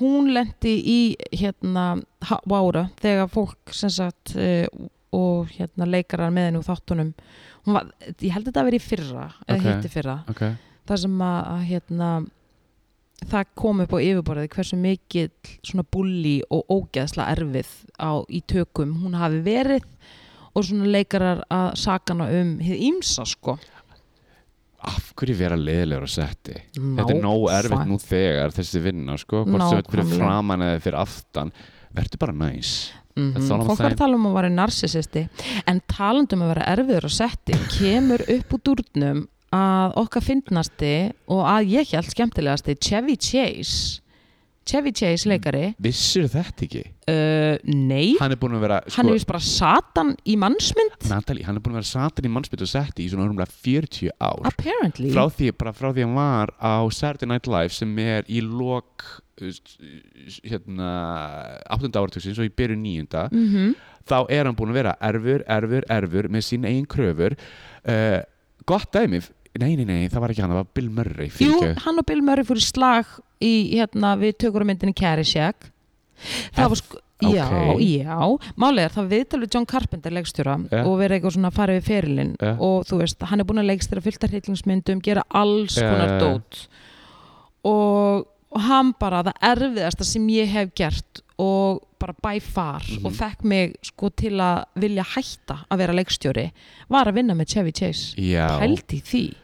hún lendi í hérna ha- Vára þegar fólk sem sagt eh, og hérna leikarar með henni úr þáttunum hún var, ég held að þetta að vera í fyrra eða
Ok.
okay. hitti fyrra,
Ok,
þar sem að, að hérna það kom upp á yfirborðið hversu mikill svona bulli og ógeðsla erfið á, í tökum hún hafi verið og svona leikarar að sakana um hið ímsa sko
af hverju vera leiðilegur á setti? Þetta er nóg erfitt nú þegar þessi vinna sko, hvort sem þetta er fyrir
Nákvæmlega.
framan eða fyrir aftan verður bara næs
Mhm.
That's all I'm
Fólk var
saying.
að tala um að vera narsissisti en talandum að vera erfiður og setti kemur upp úr dúrnum að okkar fyndnasti og að ég held skemmtilegasti Chevy Chase Chevy Chase leikari
Vissir þetta ekki?
uh, Nei,
Hann er búin að vera
hann
sko,
er vist bara satan í mannsmynd
Natalie, hann er búin að vera satan í mannsbytt og setti í svona umlega 40 ár
apparently
frá því, bara frá því hann var á Saturday Night Live sem er í lok uh, hérna 8. áratugsins og í byrju 9.
mm
þá er hann búin að vera erfur, erfur, erfur með sín eigin kröfur uh, gott dæmi Nei, nei, nei, það var ekki hann, það var Bill Murray
Jú,
fyrirgefðu.
hann og Bill Murray fór í slag í, hérna, við tökur á myndinni Carishack
Er
Það var sko Já,
Ok.
já, málega það var viðtal við John Carpenter leikstjóra
Ja.
og verið eitthvað svona að fara við ferilinn
Ja.
og þú veist, hann er búin að leikstjóra fylgta hryllingsmyndum, gera alls
Ja,
konar
ja, ja.
dót og, og hann bara, það erfiðasta sem ég hef gert og bara by far
Mhm.
og fekk mig sko til að vilja hætta að vera leikstjóri var að vinna með Chevy Chase
Já,
pældi í því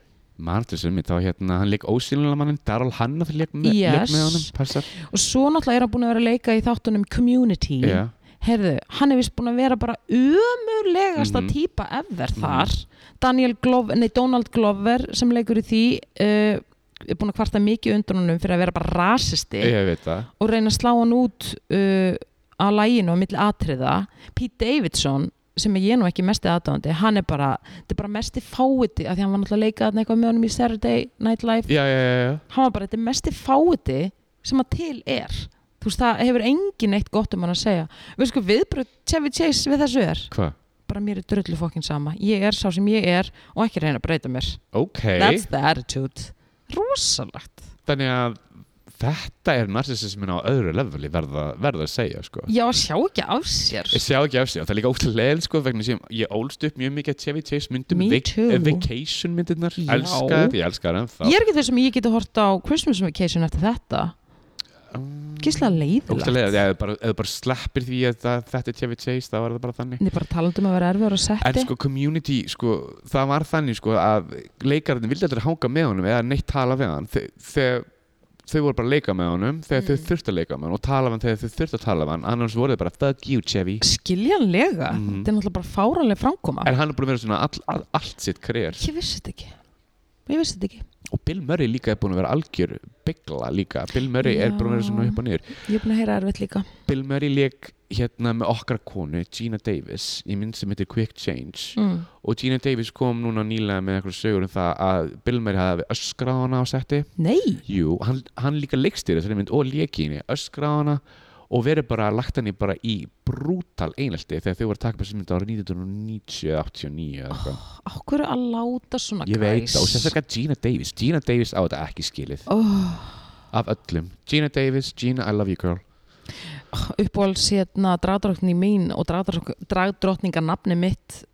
Martin Summi, þá hérna, hann leik ósýnilega mannin, Daryl Hanna þegar leik, me,
Yes.
leik með honum, passar.
og svo náttúrulega er hann búin að vera að leika í þáttunum Community
Já,
Herðu, hann er vist búin að vera bara umulegasta
Mhm.
típa ever þar Daniel Glover, nei Donald Glover sem leikur í því uh, er búin að kvarta mikið undan honum fyrir að vera bara rasisti
ég veit það.
og reyna að slá hann út uh, að læginu á milli atriða Pete Davidson sem er ég nú ekki mesti aðdáðandi hann er bara, þetta er bara mesti fáiði af því hann var náttúrulega að leika þarna eitthvað með honum í Saturday Night Live
Já, já, já, já.
hann var bara þetta er mesti fáiði sem að til er þú veist það hefur engin eitt gott um hann að segja við sko viðbröð Chevy Chase við þessu er
Hva?
bara mér er drullu fokkin sama ég er sá sem ég er og ekki reyna að breyta mér
Ok,
that's the attitude rosalegt
þannig að þetta er narsisismin á öðru leveli verða, verða að segja, sko.
já að sjá ekki af sér
Ég sjá ekki af sig, það er líka ótrúlega leil, sko, vegna sem ég ólst upp mjög mikið að Chevy Chase myndum,
Me too.
vacation myndirnar,
Já.
elska þetta, ég elska það ennþá.
ég er ekki þau sem ég geti hort á Christmas Vacation eftir þetta
Mm.
gíslega
Ótrúlega leil,
leiðilegt
eða bara, eða bara sleppir því að það, þetta er Chevy Chase, þá er það bara þannig.
niður bara talandum að vera erfiður að
En
setja
sko community, sko, það var þannig sko að leikarinn vildi aldrei hanga með honum eða neitt tala við hann Þe- þegar þau voru bara að leika með honum þegar
Mm.
þau þurftu að leika með honum og tala við hann þegar þau þurftu að tala við hann annars voru þau bara fuck you Chevy
skiljanlega,
Mhm.
þetta er náttúrulega bara fáraleg framkoma
en hann er búin að vera svona all, all, allt sitt kreer
ég vissi þetta ekki ég vissi þetta ekki,
og Bill Murray líka er búin að vera algjör byggla líka, Bill Murray er
Já.
búin að vera svona upp og niður
ég er búin að heyra erfitt líka
Bill Murray leik hérna með okkar konu Gina Davis í mynd sem heitir Quick Change
mm.
og Gina Davis kom núna nýlega með einhverju sögur um það að Bill Murray hafi öskrað á hana á setti
nei,
Jú, hann, hann líka leikstir þessari mynd og leki henni, öskraði á hana og verið bara, lagt henni bara í brútal einelti þegar þau voru að taka þessi mynd árið 1990 eða 89 eða eitthvað.
á hverju að láta svona
Ég veit það og sérstaklega Gina Davis, Gina Davis á þetta ekki skilið
oh,
af öllum. Gina Davis, Gina I love you girl.
uppáhalds hérna dragdrottning mín og dragdrottninga nafni mitt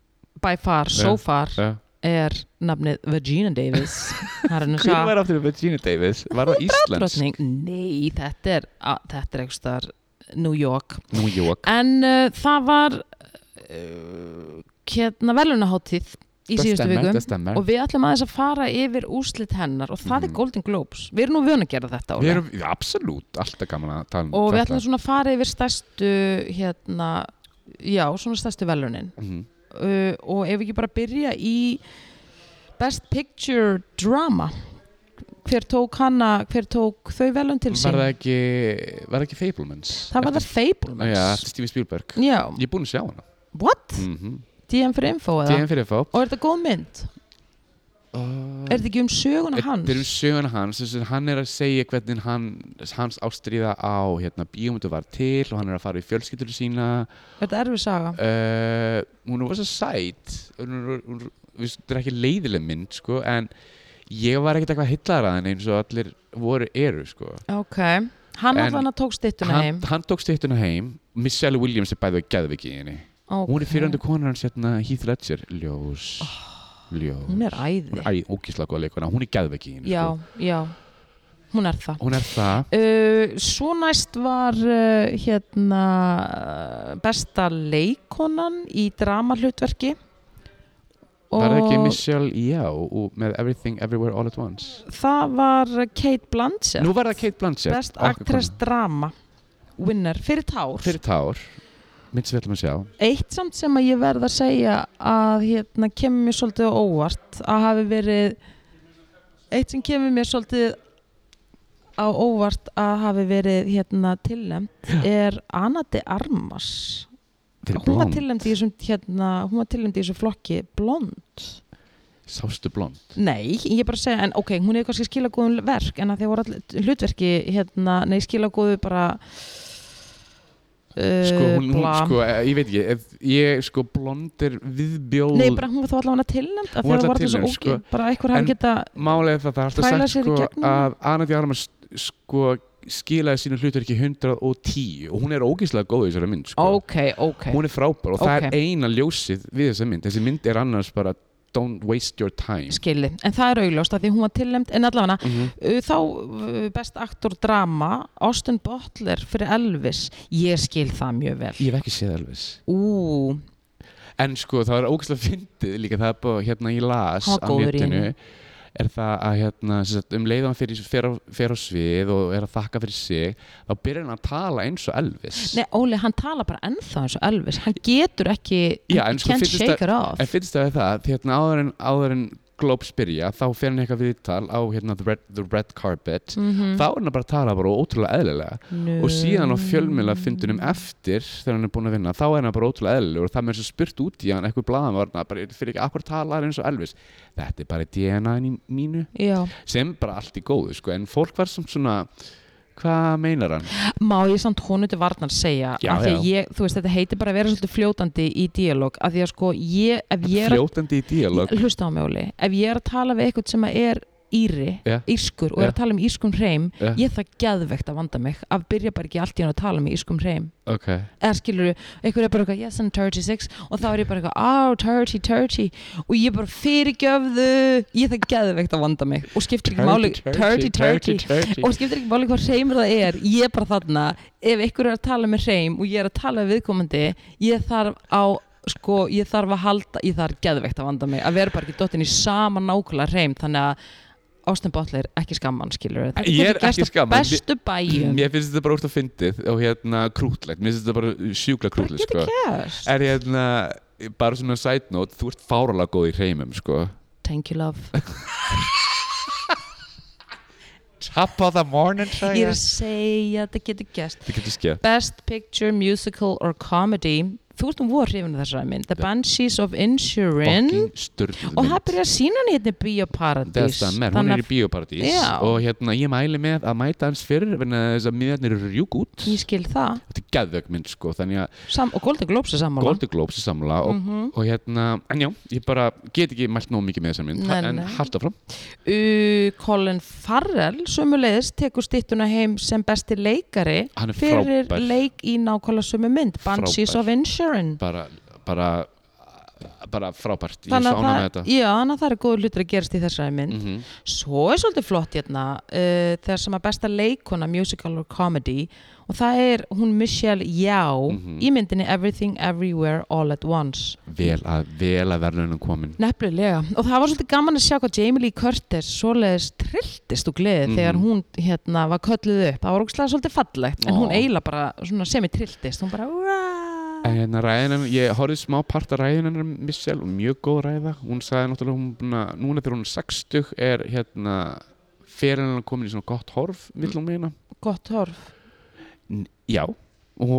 by far, so
Ja.
far
Uh,
er nafnið Vagina Davis það er nú
Hver
svo
var aftur með Gina Davis? Var það Íslands?
dragdrottning, nei þetta er, að, þetta er eitthvað staðar New York
New York.
en uh, það var uh, hérna velunaháttíð í síðustu viku
Það stemmar.
og við ætlum aðeins að fara yfir úslit hennar og það
Mhm.
er Golden Globes við erum nú vön að gera þetta
Við
Óla.
erum absolutt alltaf gaman að tala um
og við ætlum svona að fara yfir stærstu hérna, já, svona stærstu velunin
Mhm.
uh, og ef við ekki bara byrja í Best Picture Drama hver tók hana, hver tók þau velun til sín
Var það ekki, var það ekki Fablemans?
það var það Fablemans
Já, eftir Steven Spielberg.
já,
Ég er búinn að sjá hana.
what?
Mm
DM fyrir info eða?
DM fyrir FH
og er þetta góð mynd?
uh,
er þetta ekki um söguna hans?
Þetta er um söguna hans þess að hann er að segja hvernig hann, hans ástríða á hérna, bíómyndu var til og hann er að fara í fjölskyldur sína
er þetta erfið saga?
uh, Hún er svo sæt hún er, hún er, við- Þetta er ekki leiðileg mynd sko, en ég var ekkert eitthvað hillar að henni eins og allir voru eru sko.
ok, hann
En-
alltaf hann tók stittuna
hann,
heim
hann tók stýttuna heim Michelle Williams er bæðið að geðviki í henni
okay.
Hún er fyrirhandi konar hans hérna, Heath Ledger Ljós, ljós
Ah. hún er æði
Æ, ógislega góða leikona, hún er geðviki í henni
já,
sko.
já, hún er það
Hún er það
Uh, svo næst var uh, hérna uh, besta leikonan í dramahlutverki
Var það ekki
Og
Michelle Já og með Everything Everywhere All at Once
það var Kate Blanchett
Nú var það Kate Blanchett
best
okkar
actress drama winner fyrir tár
kona. Fyrir tár Mynd sem við ætlum að sjá
eitt samt sem að ég verð að segja að hérna kemur mér svolítið á óvart að hafi verið eitt sem kemur mér svolítið á óvart að hafi verið hérna tilnæmt er Anna de Armas
Fyrir
hún var
blond
tilnæmd í þessum hérna, hún var tilnæmd í þessum flokki blond
Sástu blond
nei, ég er bara að segja, en ok, hún hefur kannski skila góðum verk, en að því voru all hlutverki hérna, nei, skila góðu bara uh,
Sko, hún, hún,
bla.
sko, eh, ég veit ekki ef, Ég, sko, blond er viðbjóð
nei, bara hún var þá allavega tilnæmd af
Hún
því
var
að það
allavega
voru alltaf svo
tilnefnd, sko.
ógið, bara eitthvað hafi
En-
geta
Málega það, það er alltaf
Þvæla
sagt
sér í Mm.
sko,
gegnum.
að Anna Djarmar sko, skilaði sínu hlutverki 110 og hún er ógislega góð í þessari mynd sko.
ok, ok,
Hún er frábær og það
Ok.
er eina ljósið við þessa mynd Þessi mynd er annars bara Don't waste your time
skili en það er augljóst af því hún var tilnæmd, en allavega
mm
uh, þá uh, best aktor drama Austin Butler fyrir Elvis ég skil það mjög vel
Ég hef ekki séð Elvis
ú,
En sko það var ógæslega fyndið líka það er búið hérna ég las
Hann var
á
góður í
netinu
henni.
er það að hérna sem sagt, um leiðan fyrir, fyrir, fyrir á svið og er að þakka fyrir sig þá byrjar hann að tala eins og Elvis
Nei, Óli, hann tala bara ennþá eins og Elvis hann getur ekki,
Já,
hann
en sko,
can't
fyndist
shake
að-
it off
En finnst það það, því hérna áður en, áður en Globes byrja, þá fer hann í eitthvað viðtal á hérna the red, the red carpet
Mhm.
þá er hann bara að tala bara ótrúlega eðlilega
Nö.
og síðan á fjölmjöla fundunum eftir þegar hann er búin að vinna, þá er hann bara ótrúlega eðlilegur og það með þessu spurt út í hann, eitthvað blaðan var hann bara, fyrir ekki, akkur talar eins og Elvis þetta er bara DNA -inn í mínu
Já.
sem bara allt í góðu, sko, en fólk var sem svona, hvað meinar hann?
Má ég samt honu til varnar segja
Já,
af því að
já.
ég, þú veist, þetta heitir bara að vera svolítið fljótandi í dialog, af því að sko ég, ef ég er að,
Fljótandi í díalog
hlusta á mig Óli ef ég er að tala við eitthvað sem að er íri,
Já.
írskur og er að tala um írskum hreim
Já.
ég það geðvegt að vanda mig að byrja bara ekki allt í hann að tala um írskum hreim
Ok,
eða skilur þú, einhver er bara eitthvað yes I'm 36 og þá er ég bara eitthvað oh 30, 30 og ég bara fyrirgjöfðu ég það geðveikt að vanda mig og skiptir ekki máli 30, 30 og skiptir ekki máli hvað hreimur það er ég er bara þarna, ef einhver er að tala með hreim og ég er að tala við viðkomandi ég þarf á, sko, ég þarf að halda ég þarf geðveikt að vanda mig, að vera bara ekki dottin í sama nákvæmlega hreim þannig að Austin Butler, ekki skamman skilur þetta
Ég er
getur gerst
ekki
á
skamman,
bestu bæjum
Mér finnst þetta bara úrst að fyndið og hérna krútlegt, mér finnst þetta bara sjúkla
bara
krútlegt
getur
sko.
gerst
Er hérna, bara svona side note, þú ert fáralega góð í hreimum sko.
thank you love
Top of the morning,
ég er að segja að þetta getur gerst
Þetta getur skeið.
Best Picture, Musical or Comedy þú ert um voru hrifin af þessu ræmin The Banshees of Insurance
Fucking störtluð
og það byrja að sína hann hérna í Bíóparadís
Þess að mér, hún er í bíóparadís
Já.
og hérna ég mæli með að mæta hans fyrir vegna þess að miðarnir eru rjúk út
ég skil það
Þetta er geðvögg mynd sko, þannig að
Sam, og Golden Globes er sammála
Golden Globes er samla og,
Mhm.
og hérna, en já, ég bara get ekki mælt nóg mikið með þessar mynd,
Nei,
en
nei.
halda fram
uh, Colin Farrell sömulegis tekur stittuna heim sem besti leikari
Hann er
fyrir
frábær.
leik í nákvæmlega sömu mynd Banshees
Frábær.
of Insurance
bara, bara bara frábært, ég er
þannig að,
svo ánægð með
það,
þetta
já, þannig að það er góður hlutur að gerast í þessari mynd
Mhm.
svo er svolítið flott hérna uh, þegar sem að besta leikona musical or comedy og það er hún Michelle Yao
Mhm.
í myndinni Everything Everywhere All at Once
vel að, vel að verðunum komin
Nefnilega, og það var svolítið gaman að sjá hvað Jamie Lee Curtis svoleiðis trilltist og gleði þegar
Mhm.
hún hérna var kölluð upp, það var ógustlega svolítið fallegt en
Ó.
hún eiginlega bara svona semi-trilltist hún bara
En
"Wow."
hérna ræðinan, ég horfði smá part að ræðinan Michelle og mjög góð ræða hún sagði náttúrulega hún búna, núna þegar hún er 60 er hérna fyrir hennar komin í svona gott horf vill hún meina
gott horf
N- Já, og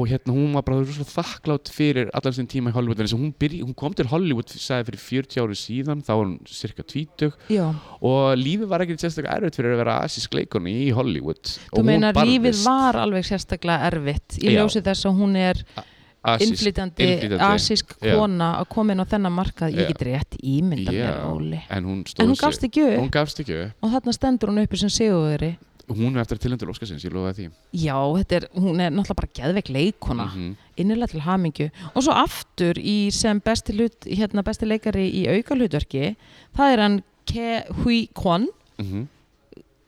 hérna hún var bara svo þakklátt fyrir allan sinn tíma í Hollywood þannig að hún, byrj, hún kom til Hollywood sagði fyrir 40 ári síðan, þá var hún cirka 20
Já,
og lífið var ekkert sérstaklega erfitt fyrir að vera asísk leikonu í Hollywood
þú meina lífið var alveg sérstaklega erfitt í
Já.
ljósi þess að hún er innflytjandi
innflytjandi,
asísk
já.
kona að koma inn á þennan markað
Já.
ég get rétt ímynda mér Óli
en hún,
en
stóð
hún
sig-
gafst ekki upp
hún gafst ekki upp.
og þarna stendur hún uppi sem sigurveri
hún er eftir tilendur Óskarsins, ég lofaði því
Já, þetta er, hún er náttúrulega bara geðveik leikona
Mhm.
innilega til hamingju og svo aftur í sem besti, hlut, hérna, besti leikari í aukalutverki það er hann Ke Hui Kwon
Mhm.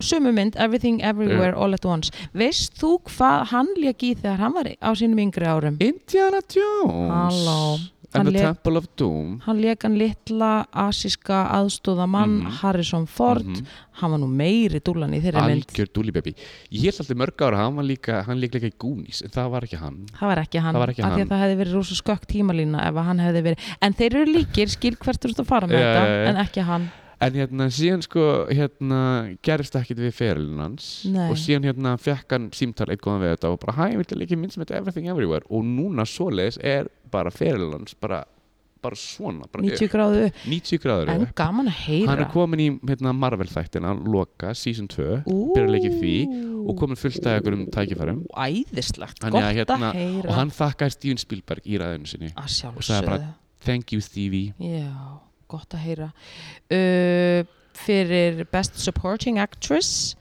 sumu mynd Everything Everywhere All at Once veist þú hvað hann lék í þegar hann var á sínum yngri árum
Indiana Jones
Halló.
and
Hann
the
lék-
Temple of Doom
hann lék hann litla asíska aðstóðamann
Mhm.
Harrison Ford
Mhm.
hann var nú meiri dúlan í þeirri mynd
algjör dúlibebi ég held alltaf mörg ára, hann var líka hann líka líka í Goonies, en það var ekki hann
Það var ekki hann,
Það var ekki
af því
hann.
að það hefði verið rosa skökk tímalína ef að hann hefði verið, en þeir eru líkir skil hvert þú ert að fara með
Já,
þetta,
já, já.
en ekki hann
en hérna síðan sko hérna gerist ekkit við ferilin hans
Nei.
og síðan hérna fekk hann símtal eitt góðan við þetta og bara hæ, ég vilja líka minn sem þetta Everything Everywhere og núna svoleiðis er bara ferilin hans bara, bara svona bara
90 gráðu upp,
90 gráður
en
upp.
gaman að heyra
hann er komin í hérna, Marvel þættina loka, season 2
Ú.
byrjar að leika í því og komin fullt af einhverjum tækifærum
Æðislegt,
Þannig
gott
að hérna-
að heyra
og hann þakkaði Steven Spielberg í ræðinu sinni
að
og sagði
sjálfsögðu
bara- Thank you Stevie
Já, gott að heyra uh, Fyrir Best Supporting Actress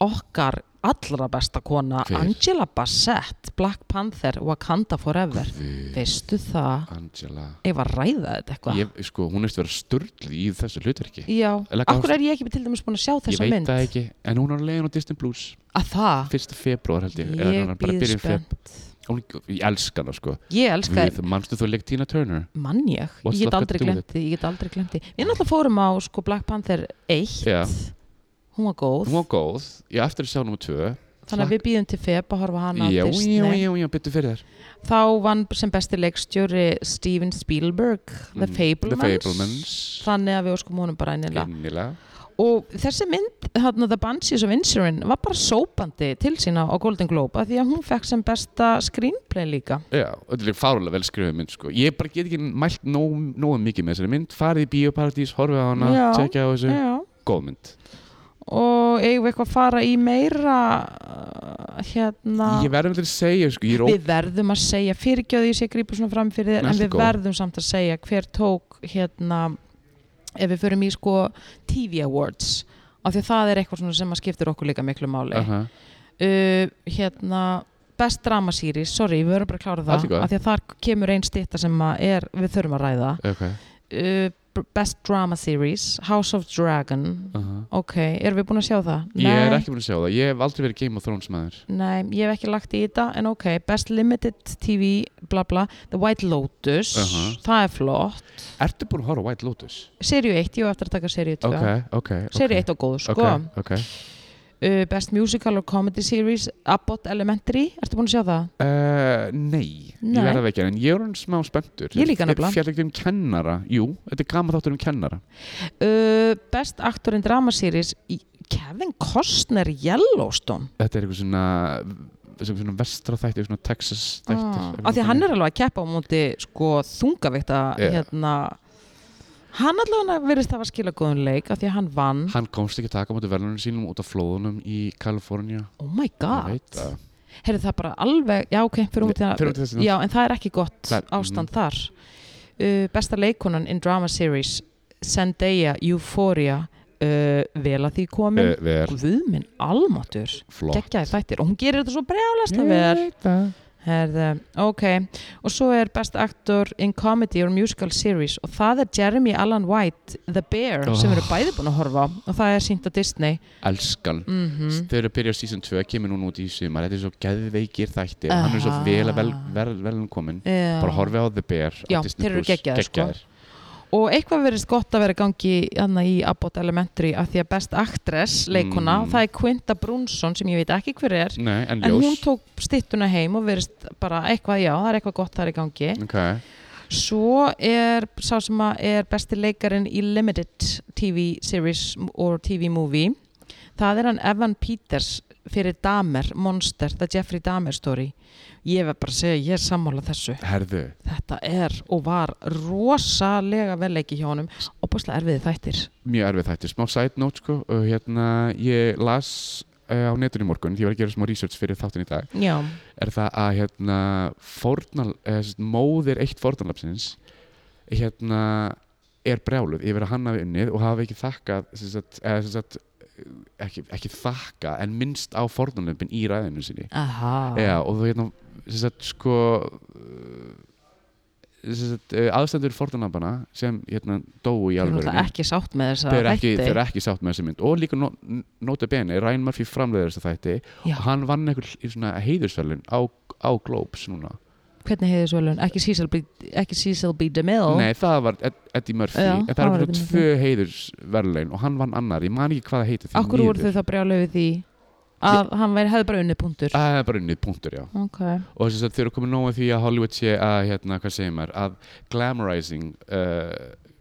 okkar allra besta kona
Hver?
Angela Bassett, Black Panther Wakanda Forever,
Guð,
veistu það?
Angela
Ég var að ræða þetta eitthvað
ég, sko, hún er að vera störlið í þessu hlutverki
Já,
Legg
akkur
áherslu-
er ég ekki til dæmis búin að sjá
ég
þessa
veit
mynd
það ekki, en hún er á leiðin á Disney Plus
að það,
1. februar held ég, eða
ég
hún er bara að
býð
byrja í feb-
spennt
hún, ég elska hana sko
ég elska
Við, manstu þú leik Tina Turner
mann ég,
What's
ég get
that got
aldrei
to do with
glemt því ég get aldrei glemt því, við náttúrulega fórum á sko Black Panther 1
Já.
hún var góð,
hún var góð, ég á eftir að sjá nummer 2
þannig að við býðum til Feb að horfa hana á
já,
Disney
já, já, já, byttu fyrir þær
þá vann sem besti leikstjóri Steven Spielberg The,
Mm,
Fablemans.
The Fablemans
þannig að við óskum honum bara einnilega
Innilega.
og þessi mynd, þarna The Banshees of Insurance var bara sópandi til sína á Golden Globe af því að hún fekk sem besta screenplay líka
Já, og þetta er fárulega vel skrifið mynd sko. Ég bara get ekki mælt nóg, nógu mikið með þessari mynd Farið í bíóparadís, horfið á hana,
Já.
tjekkja á þessu
já
Góð mynd
og eigum við eitthvað að fara í meira uh, hérna
Ég verðum til að segja, sko, ég er ó...
við verðum að segja fyrirgjöðu ég sé að grípa svona fram fyrir þér
Nei,
en
allt í
við
góðu.
verðum samt að segja hver tók hérna ef við förum í sko TV Awards af því að það er eitthvað svona sem að skiptir okkur líka miklu máli
Aha.
uh, hérna best dramasýri, sorry, við verðum bara að klára
Allt
það
í góðu.
af því að þar kemur einn stýta sem að er, við þurfum að ræða
okay.
uh, Best Drama Series, House of Dragon
Aha.
ok, erum við búin að sjá það?
Ég er
Nei.
ekki búin að sjá það, ég hef aldrei verið Game of Thrones maður
Nei, ég hef ekki lagt í þetta en ok, Best Limited TV bla bla, The White Lotus
Uh-huh.
það er flott,
Ertu búin að horfa á White Lotus?
Serju 1 ég hef eftir að taka Serju 2
Ok, ok, ok
Serju 1 og góð, sko
Ok, ok
uh, Best Musical or Comedy Series Abbott Elementary, ertu búin að sjá það?
Uh, nei, ég
Nei.
verða ekki en ég er hann smá spenntur
Ég líka nefnilega.
Fjall ekkert um kennara, jú, þetta er gama þáttur um kennara
Uh, best Actor in Drama Series í- Kevin Costner Yellowstone
Þetta er eitthvað svona svona, svona vestra þættir, svona Texas þættir
ah, af því að hann er alveg að keppa á móti sko þungavíkta
Já.
hérna hann allavega verðist hafa skila góðum leik af því að hann vann
Hann komst ekki að taka á móti verðlunum sínum út af flóðunum í Kalifornía
oh my
Ég veit
god
það.
heyrðu það bara alveg já ok, fyrir út í það
Förum til þess að-
já, en það er ekki gott
Það er-
ástand þar uh, besta leikonan in drama series Zendaya, Euphoria uh, vel að því komin
Eh,
uh,
Vel,
Guðminn almatur
flott Eh.
geggjaði þættir og hún gerir þetta svo brjálasta
Ég
vel
veit það.
Herðu, ok, og svo er Best Actor in Comedy or Musical Series og það er Jeremy Allen White The Bear
Oh.
sem við erum bæði búin að horfa á og það er sínt á Disney
Elskan
mm
Þau eru að byrja á season 2, kemur núna út í sumar Þetta er svo geðveikir þættir Hann er svo
Aha.
vel að vel, vel, vel komin Bara horfið á The Bear á
Já,
Disney
þeir eru
Plus.
geggjaðir, sko. Og eitthvað verðist gott að vera í gangi anna, í Abbott Elementary af því að Best Actress leikuna
Mm.
það er Quinta Brunson sem ég veit ekki hver er
Nei, en
en
ljós
hún tók stittuna heim og verðist bara eitthvað, já, það er eitthvað gott þar í gangi
okay.
Svo er sá sem að er besti leikarinn í limited TV series or TV movie það er hann Evan Peters fyrir Dahmer, Monster, The Jeffrey Dahmer story. Ég verð bara að segja ég er sammála þessu.
Herðu,
Þetta er og var rosalega velleiki hjá honum og búinlega erfiði þættir.
mjög erfið þættir, smá side note sko og hérna ég las uh, á netunum morgun, því ég var að gera smá research fyrir þáttin í dag,
Já.
er það að hérna fornal, eða, sérst, móðir eitt fornalapsins hérna er brjáluð yfir að hann hafi unnið og hafi ekki þakkað sérst, eða, sérst, ekki, ekki þakka en minnst á fornalöfin í ræðinu sinni
Aha.
Já, og þú hérna sem sagt, sko sem sagt, eh, aðstendur forðanabana sem hérna dóu í
Ég er náttúrulega
alvörunni
ekki sátt með þessa
þau eru ekki,
þætti.
þau eru ekki sátt með þessa mynd og líka no, nota bene, Ryan Murphy framleiðir þessa þætti
Já.
og hann vann einhver í svona heiðursverlun á, á Globes núna
Hvernig hefði þessu velun? Ekki Cecil B. Ekki Cecil B. DeMille?
nei það var Ed, Eddie Murphy
Já,
en það
það var
eru
Eddie
svona
Murphy.
tvö heiðursverlun og hann vann annar, ég man ekki hvað það heiti því
Akkur voru
miður.
þau þá brjálega við því að hann væri, hefði bara unnið punktur?
Það er bara unnið punktur, já
Ok.
og þess að þau eru komið nógu því að Hollywood sé að, hérna, hvað segir maður, að glamorizing uh,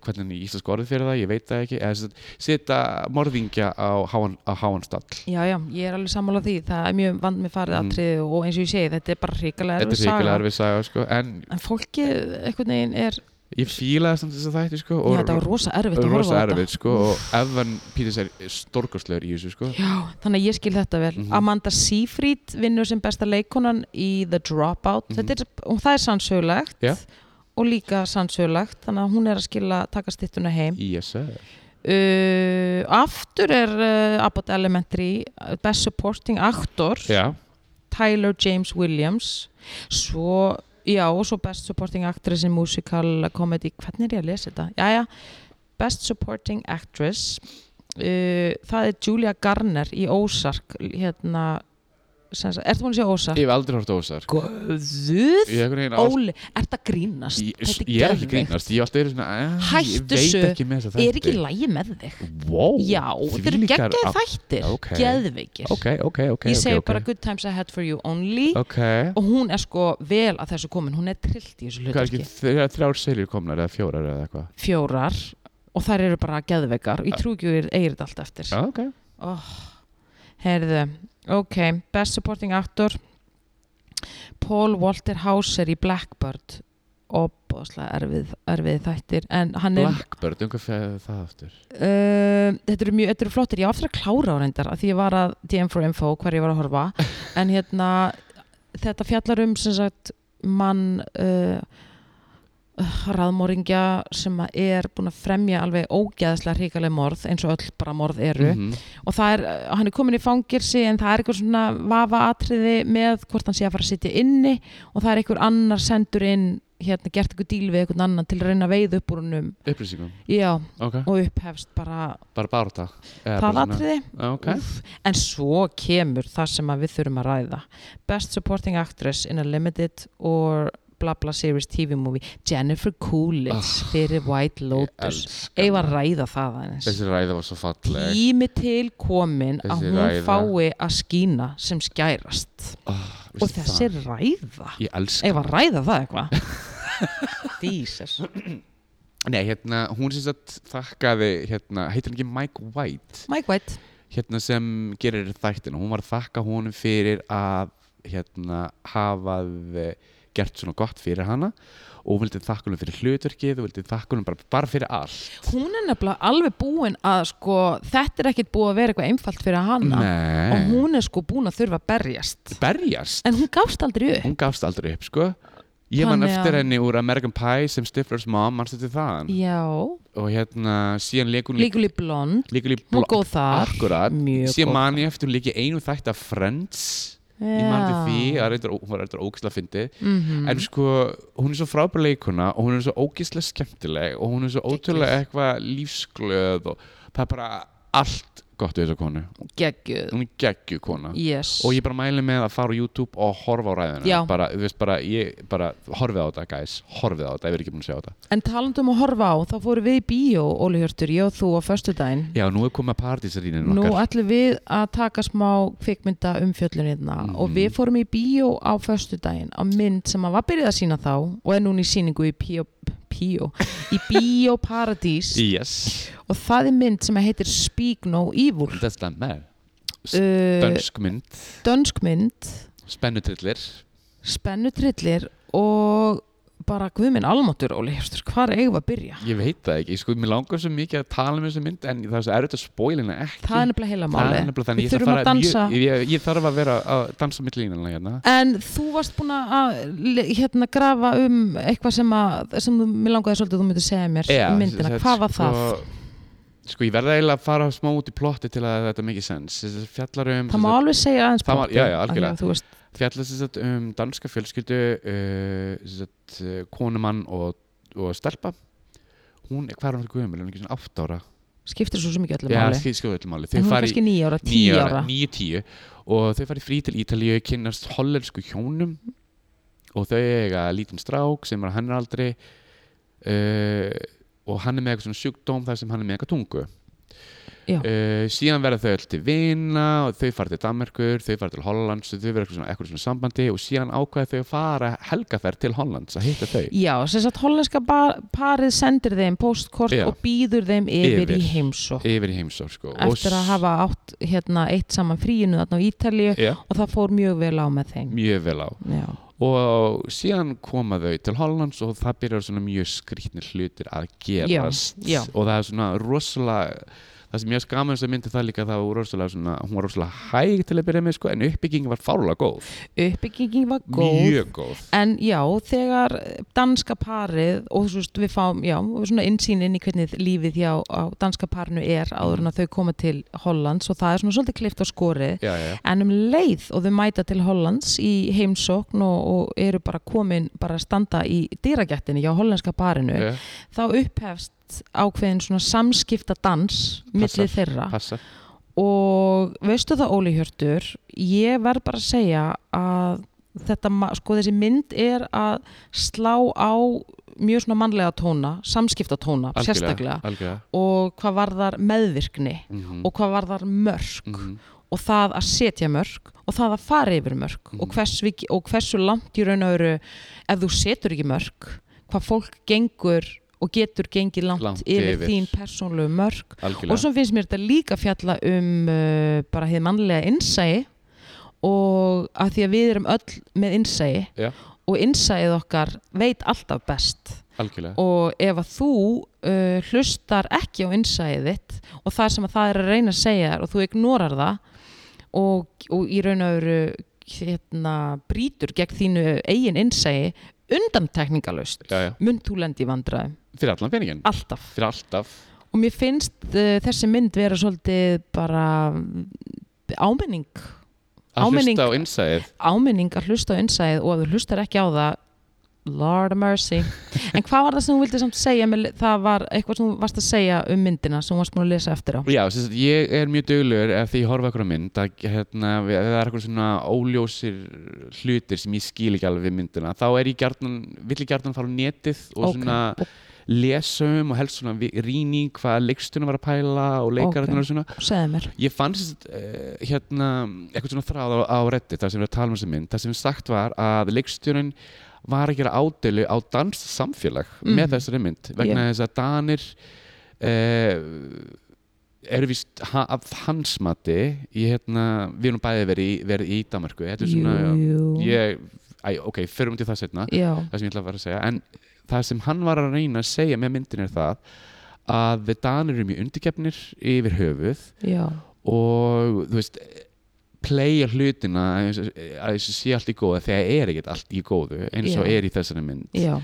hvernig er íslensku orðið fyrir það, ég veit það ekki eða sem sagt, setja morðingja á háan, á háan stall
Já, já, ég er alveg sammála því. Það er mjög vand með farið
Mm.
aðtriði og eins og ég segi, þetta er bara hrikalega
þetta
erfið
er
saga.
ríkilega erfið saga sko, en
En fólki, einhvern veginn, er,
ég fílaði samt þess að þætti sko,
já, þetta var rosa erfitt að horfa á
rosa
þetta.
erfið sko, og Evan Peters er stórkostlegur í þessu sko.
Já, þannig að ég skil þetta vel.
Mhm.
Amanda Seyfried vinnur sem besta leikonan í The Dropout.
Mhm.
Þetta er, og það er sannsögulegt.
Já.
Og líka sannsögulegt, þannig að hún er að skila, taka stittuna heim.
yes sir
Uh, aftur er uh, Abbott Elementary, uh, Best Supporting Actor.
já,
Tyler James Williams svo, já, og svo Best Supporting Actress in Musical Comedy hvernig er ég að lesa þetta? Jæja, Best Supporting Actress uh, það er Julia Garner í Ozark hérna, sem sagt- ertu búin að sé Ozark?
ég hef aldrei hort á þessar
Guð,
ég, einhvern veginn á-
Óli, ertu að grínast?
ég,
Þetta
ég er ekki
geðveikt.
grínast, ég, er alltaf verið svona, eh,
Hættu
ég veit
þessu.
ekki með þessa
Er ekki
þætti
lægi með þig?
wow,
Já, þeir eru
þvílíkar
geggjaði þættir,
ok.
geðveikir.
ok, ok, ok
Ég
ok,
segi
ok.
bara good times ahead for you only
ok,
og hún er sko vel að þessu komin, hún er trillt í þessu
hvað er ekki
hlutverki
þrjár, þrjár seljur komnar eða fjórar eða eitthvað
fjórar og þær eru bara geðveikar ég trú ekki að við eigir þetta allt eftir
ok,
oh, heyrðu, ok Best Supporting Actor Paul Walter Hauser í Blackbird opbóðslega erfið, erfið þættir en hann er
Blackbird, um hvað fer það aftur
Uh, þetta eru mjög, þetta eru flottir, ég var aftur að klára á reyndar að því ég var að DM for info hver ég var að horfa en hérna þetta fjallar um sem sagt mann uh, raðmóringja eh, sem að er búin að fremja alveg ógeðslega hrikaleg morð eins og öll bara morð eru
Mhm.
og það er, eh, hann er komin í fangirsi en það er eitthvað svona vafa atriði með hvort hann sé að fara að sitja inni og það er einhver annar sendur inn hérna gert eitthvað díl við einhvern annan til að reyna að veið upp úr húnum
upplýsingum,
já,
ok,
og upphefst bara
bara bárta
það atriði
ok,
Úff, en svo kemur það sem að við þurfum að ræða Best Supporting Actress in a Limited or bla bla series TV movie Jennifer Coolidge fyrir White Lotus
elska
eigum
hana.
að ræða það aðeins
þessi ræða var svo falleg
tími til komin að
Þessi
hún
ræða.
fái að skína sem skærast
oh,
og þessi ræða
ég elska
eigum að ræða það eitthvað Jesus
Nei, hérna, hún syns að þakkaði hérna, heitir hann ekki Mike White
Mike White
hérna sem gerir þættina hún var að þakka honum fyrir að hérna hafað gert svona gott fyrir hana og hún vildi þakka honum fyrir hlutverkið og vildi þakka honum bara, bara fyrir allt
hún er nefnilega alveg búin að sko, þetta er ekkit búið að vera eitthvað einfalt fyrir hana
Nei,
og hún er sko búin að þurfa að berjast
berjast
en hún gafst aldrei upp
hún gafst aldrei upp sko ég man
Þannig að-
eftir henni úr American Pie sem Stifler's mom, mannstu til þaðan
já,
og hérna síðan leik hún líka
líkuli blond
líka líka
hún er góð þar
akkurat,
mjög
síðan
góð
man ég eftir hún líka í einu þætt af Friends ég man til því, það er eitthvað- hún var eitthvað ógislega fyndið
Mhm.
en sko, hún er svo frábær leikuna og hún er svo ógislega skemmtileg og hún er svo ótrúlega eitthvað lífsglöð og það er bara allt gott við þessa konu,
geggjuð
hún er geggju kona
yes.
og ég bara mæli með að fara á YouTube og horfa á ræðina
Já.
bara, þú veist, bara, ég, bara horfið á þetta guys, horfið á þetta, ég verð ekki búin að sjá þetta
en talandi um að horfa á, þá fórum við í bíó Óli Hjörtur, ég og þú á föstudaginn
Já, nú er komið að partysaríninu
nú
okkar
ætlum við að taka smá kvikmynda umfjöllunirna og
Mm.
við fórum í bíó á föstudaginn á mynd sem að var byrjuð að sína þá og er núna í síningu í bíó, bíó í bíó paradís
Yes,
og það er mynd sem heitir Speak No Evil
that's not bad
uh,
Dönsk mynd,
dönsk mynd
spennutrillir
spennutrillir og bara guðminn almáttur Óli Hjörstur, hvar eigum við að byrja?
Ég veit það ekki, sko, mér langar svo mikið að tala um þessu mynd en það er svo erfitt að spóilina ekki
Það er nefnilega heila
Það
máli
er nefnilega þannig,
Við þurfum að dansa
ég þarf að fara- ég, ég, ég þarf að vera að dansa mitt línanlega hérna
En þú varst búin að le- hérna, grafa um eitthvað sem, að, sem þú, mér langaði svolítið að þú myndir segja mér um myndina,
þetta
hvað var
sko-
það?
Sko, ég verða eiginlega að fara smá út í plotti til að þetta mikið sens Þetta fjallar um,
Það má alveg segja aðeins
Það má-
brotið,
já, já,
af því að
algjörlega.
þú veist,
fjallar sem sagt, um danska fjölskyldu uh, sem sagt, uh, konumann og, og stelpa Hún, hvað er hún fyrir guðumil? Hún er ekki svona 8 ára
skiptir svo sem ekki öllu
Já,
máli
skilðu öllum máli
En
Þau
hún er
fara í-
kannski nýja ára,
níu
tíu ára
níu, tíu og þau farið frí til Ítalíu kynnast hollensku hjónum og þau eiga lítinn strák sem er á hennar aldri uh, og hann er með eitthvað svona sjúkdóm þar sem hann er með eitthvað tungu
Já.
uh, síðan verða þau öll til vina og þau farið til Danmarkur, þau farið til Hollands og þau verða eitthvað svona, eitthvað svona sambandi og síðan ákvæða þau að fara helgaferð til Hollands að hitta þau
Já, sem sagt hollenska bar, parið sendir þeim postkort
Já.
og býður þeim yfir,
Yfir.
í heimsók
yfir í heimsók sko. Og
eftir að hafa átt hérna eitt saman fríinu þarna á Ítalíu
s- Já,
og það fór mjög vel á með þeim
mjög vel á
Já,
og síðan koma þau til Hollands og það byrjar svona mjög skrýtnir hlutir að gerast
Já, já.
og það er svona rosalega það sem ég skaman þess að myndi það líka að það var rosalega svona, hún var rosalega hæg til að byrja með sko, en uppbygging var fárlega góð,
uppbyggingin var góð
mjög góð
En já, þegar danska parið og þú veist, við fáum, já, svona insýn inn í hvernig lífið hjá á danska parinu er áður en að þau koma til Hollands og það er svona svolítið klift á skorið
já, já,
en um leið og þau mæta til Hollands í heimsókn og, og eru bara komin bara að standa í dýragjættinu hjá hollenska parinu,
já,
þá upphefst ákveðin svona samskipta dans milli þeirra
passa
og veistu það Óli Hjörtur ég verð bara að segja að þetta, ma- sko þessi mynd er að slá á mjög svona mannlega tóna, samskipta tóna sérstaklega
algjörlega.
og hvað varðar meðvirkni
Mhm,
og hvað varðar mörg
mhm.
og það að setja mörg og það að fara yfir mörg og,
Mhm.
hvers, við- og hversu langt í raun og öru ef þú setur ekki mörg hvað fólk gengur og getur gengið langt,
Langt
yfir,
yfir.
þín persónlegu mörg
algjörlega
og svo finnst mér þetta líka fjalla um uh, bara hér mannlega innsæi og að því að við erum öll með innsæi
Já.
og innsæið okkar veit alltaf best
algjörlega,
og ef að þú uh, hlustar ekki á innsæið þitt og það sem að það er að reyna að segja þér og þú ignorar það og, og í raun og veru hérna, brýtur gegn þínu eigin innsæi undantekningalust
Já, já.
mun þú lendi í vandræðum,
fyrir allan peningin,
alltaf
fyrir alltaf
og mér finnst uh, þessi mynd vera svolítið bara mm, áminning
að
Áminning.
hlusta á innsæðið
áminning að hlusta á innsæð og ef þú hlustar ekki á það Lord of mercy en hvað var það sem þú vildi samt segja með, það var eitthvað sem þú varst að segja um myndina sem þú varst múin að lesa eftir á
Já, sem sagt, ég er mjög döglegur ef því ég horfa okkur á mynd að hérna, ef það er eitthvað svona óljósir hlutir sem ég skil ekki alveg við myndina þá er ég gjarnan, vill ég gjarnan fara á netið og
Ok.
svona lesa um og helst svona vi- rýni í hvað leikstunum var að pæla og
Ok.
leikararnir og svona
segðu mér
Ég fann sem sagt, uh, hérna, eitthvað svona þráð á, á reddit þar sem við erum að tala um þessi mynd þar sem sagt var að leikstjórun var að gera ádölu á danst samfélag
Mhm.
með þessari mynd vegna
Ég-
þess að danir uh, eru vist ha, af hans mati ég, hérna, við erum bæði verið í, verið í Danmarku þetta er svona
jú, jú.
ég, æ, ok, förum til það setna
já,
það sem ég ætla að fara að segja en það sem hann var að reyna að segja með myndin er það að við danir eru mjög undirgefnir yfir höfuð
já,
og þú veist playa hlutina að þessu- að þessu sé allt í góða þegar er ekkert allt í góðu eins og
Já.
er í þessari mynd
já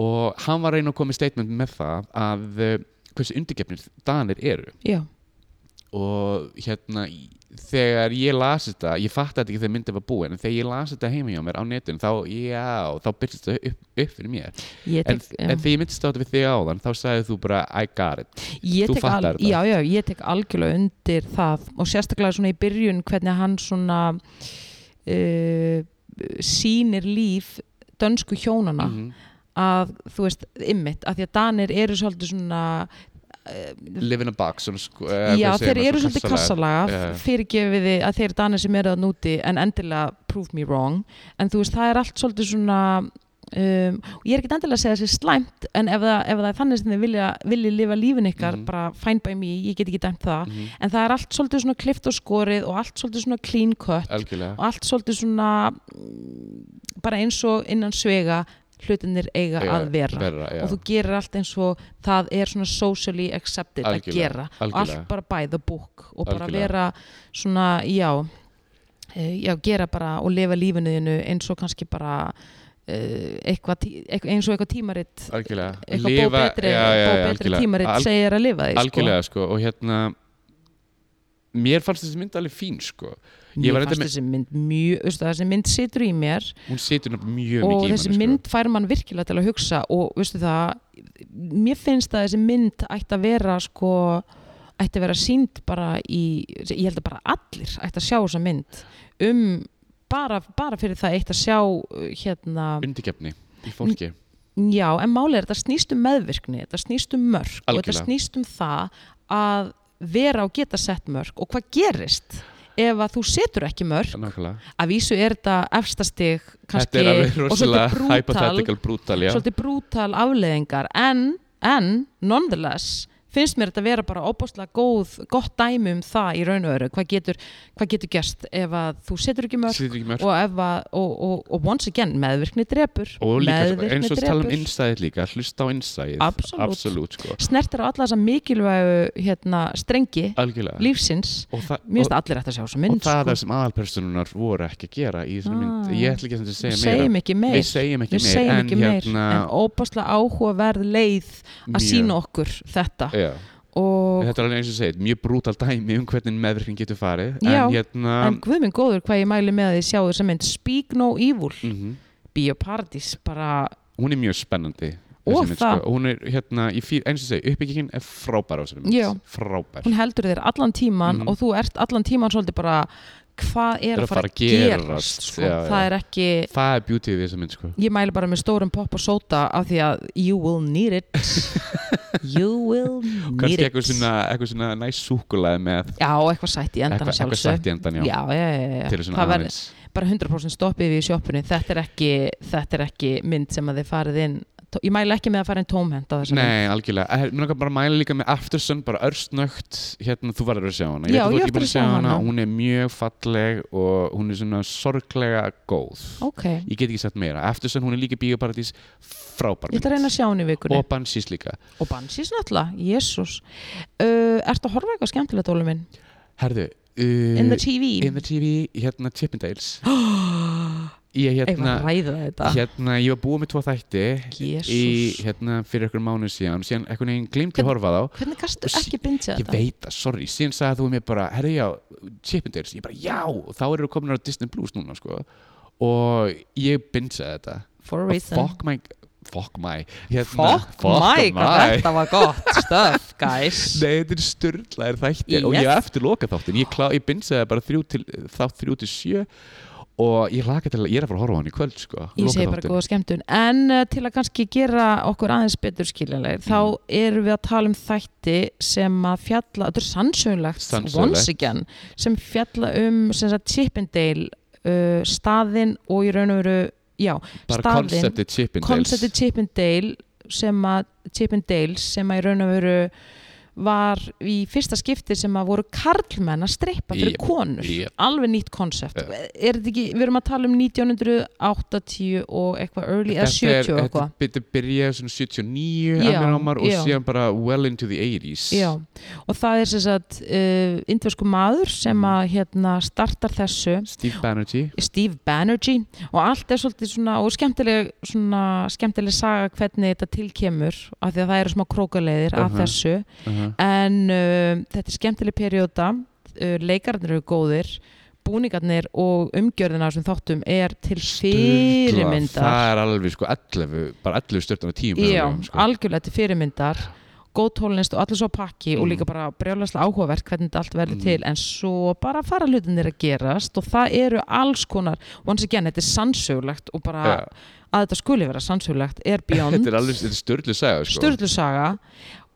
og hann var að reyna að koma í statement með það að eh, hversu undirgefnir danir eru
já,
og hérna í- þegar ég las þetta, ég fatt þetta ekki þegar myndið var búin en þegar ég las þetta heima hjá mér á netinu þá, já, þá byrjast þetta upp, upp fyrir mér
ég
en,
tek, já.
en þegar ég myndist á þetta við þig áðan þá sagði þú bara, I got it
ég
þú
tek
fattar
al-
þetta.
já, já, ég tek algjörlega undir það og sérstaklega svona í byrjun hvernig hann svona uh, sýnir líf dönsku hjónana
Mhm.
að þú veist, ymmit, að því að danir eru svolítið svona uh,
live in a box svona, sko, eh,
já,
hvað segir
þeir
maður,
eru
svona
svolítið
kassalaga.
kassalaga
Já.
fyrirgefiði að þeir danir sem eru að núti en endilega prove me wrong en þú veist, það er allt svolítið svona um, og ég er ekki endilega að segja þessi slæmt en ef það, ef það er þannig sem þið vilja, vilja lifa lífin ykkar,
Mhm.
bara fine by me ég get ekki dæmt það,
Mhm.
en það er allt svolítið svona klift og skorið og allt svolítið svona clean cut
Algjörlega.
og allt svolítið svona mm, bara eins og innan svega hlutinir eiga
Já,
að vera
já.
og þú gerir allt eins og það er svona socially accepted að
Algjörlega,
gera
algjörlega.
allt bara by the book og bara
Algjörlega.
vera svona, já eh, já, gera bara og lifa lífinu þínu eins og kannski bara eh, eitthvað, tí- eitthvað eins og eitthvað tímaritt
algjörlega
eitthvað bó betri,
já, já, já,
bó betri
algjörlega.
tímaritt
Al-
segir að lifa því sko.
algjörlega sko og hérna mér fannst þessi mynd alveg fín sko Ég
mér
var reyndar
fannst
með-
þessi mynd mjög veistu, þessi mynd situr í mér
hún situr nefnilega mjög
og
mikið í
þessi
manni, sko.
mynd fær mann virkilega til að hugsa og veistu það mér finnst að þessi mynd ætti að vera sko, ætti að vera sínd bara í, ég held að bara allir ætti að sjá þessa mynd um bara, bara fyrir það eitt að sjá uh, hérna,
sko. undirgefni í fólki
já, en málið er þetta snýst um meðvirkni, þetta snýst um mörg og þetta
Algjörlega.
snýst um það að vera og geta sett mörg og hvað gerist ef að þú setur ekki mörg
nákvæmlega
að vísu er þetta efstastig
þetta
kannski
er alveg
og svolítið
rosalega
brútal
hypothetical brutal já
svolítið brútal afleðingar en, en nonetheless finnst mér þetta vera bara óbúslega góð gott dæmi um það í raun og öru hvað getur, hvað getur gerst ef að þú setur ekki mörg
situr ekki mörg
og, ef að, og, og, og once again meðvirkni drepur
og líka
meðvirkni
eins og tala um
drepur.
innsæðið líka hlusta á innsæðið
Absolút.
absolutt sko
snertir á alla þessa mikilvægu hérna, strengi
algjörlega
lífsins
og
mér
það og-
finnst allir eftir að sjá þessu
og
mynd
það er
sko.
það sem aðalpersonunar voru ekki að gera í þessari mynd
Ah.
ég ætla ekki að segja
við segjum
meira
ekki meir
við segjum ekki
Við
meir
segjum
en
ekki meir
hérna
en óbúslega áhugaverð leið að
mjög-
sína okkur þetta
Já.
og
Þetta er alveg eins og segið, mjög brútal dæmi um hvernig meðvirkning getur farið
Já,
en hérna
en guð minn góður hvað ég mæli með að þið sjáu þess að mynd Speak No Evil,
mhm,
Bioparadís bara,
hún er mjög spennandi
Og
þessi mynd,
það.
sko. Og hún er hérna, ég fíl, eins og segið, uppbyggingin er frábær á þessari mynd
Já.
frábær,
hún heldur þér allan tíman
Mhm.
og þú ert allan tíman svolítið bara hvað er að fara að gerast, sko.
já, já.
það er ekki
það er beauty við þessari mynd sko.
ég mæli bara með stórum pop og sóta af því að you will need it you will need
kannski
it
eitthvað svona, eitthvað svona næs súkulega með
já, eitthvað sætt í endan
eitthvað, eitthvað
sjálfsög
sætt í endan,
já,
já,
já, já, já.
til svona
það verður
aðeins
bara 100% stoppið við í sjoppunni þetta er ekki, þetta er ekki mynd sem að þið farið inn ég mæli ekki með að fara inn tómhend á þessum
Nei, algjörlega, Eh, mér langar bara að mæla líka með Aftersun, bara örstnögt hérna, þú verður að sjá
Já,
hana, veit að þú
ég á
ert ekki búin
eftir að sjá hana.
hún er mjög falleg og hún er svona sorglega góð
ok,
ég get ekki sagt meira Eftirsen hún er líka í Bíóparadís frábær
ég ætla að reyna að sjá hann í vikunni
og
og,
Bansís líka
og Bansís náttúrulega, jésús uh, Ertu að horfa eitthvað skemmtilegt, Óli minn?
herðu uh,
In the TV
in the TV, hérna Chippendales ég
Eigum
hérna
að ræða þetta
hérna, ég var búið með tvo þætti í,
Jésús,
hérna, fyrir einhverjum mánuð síðan síðan einhvern veginn glimt að
Hvern-
horfa á þá
hvernig gastu
Og sí-
ekki bindja
ég
þetta?
veit það, sorry, síðan sagði þú mér bara herri já, Chippendales, ég bara já og þá eru komin á Disney Plus núna sko. og ég bindsaði þetta
For a
Og
reason
fuck my fuck my hérna,
Fuck my, hvað
my.
þetta var gott stöf, guys
Nei, þetta er störtlaðir þættir og
Yes.
ég eftir loka þáttin, ég, klá, ég bindsaði bara þrjú til, þátt þrjú til sjö og ég laka til að ég er að fara að horfa á hann í kvöld sko,
Ég segi bara
lokaþáttinn.
góða skemmtun En uh, til að kannski gera okkur aðeins betur skiljanlegir þá
Mm.
erum við að tala um þætti sem að fjalla, þetta er sannsögunlegt
Sannsögulegt.
once again, sem fjalla um sem sagt Chippendale uh, staðin og í raun og veru já,
bara
staðinn,
konceptið Chippendales
koncepti Chippendale sem að Chippendale sem að í raun og veru var í fyrsta skipti sem að voru karlmenn að strippa fyrir
Jep,
konur
jep.
alveg nýtt konsept
Ja.
er þetta ekki, við erum að tala um 1980 og eitthvað early eða 70 og eitthvað
Þetta byrjaði svona 79
Já,
já, ámar, og
já.
síðan bara well into the 80s
Já, og það er sem sagt uh, indversku maður sem að hérna startar þessu
Steve Banerjee
Steve Banerjee og allt er svolítið svona og skemmtileg, svona, skemmtileg saga hvernig þetta tilkemur af því að það eru smá krókaleiðir af
Mhm.
þessu
uh -huh.
en uh, þetta er skemmtileg perjóta uh, leikarnir eru góðir búningarnir og umgjörðina sem þáttum er til fyrirmyndar
Það er alveg sko 11 bara 11 stjórnum og 10
já,
mögulegum, sko.
algjörlega til fyrirmyndar góð tólnist og allir svo pakki og
Mm.
líka bara brjálæslega áhugavert hvernig þetta allt verður
Mm.
til en svo bara fara hlutinir að gerast og það eru alls konar once again, þetta er sannsögulegt og bara
Já,
að þetta skuli vera sannsögulegt er beyond
Þetta er alveg þetta er stjórnlega sæða sko.
Sturlu saga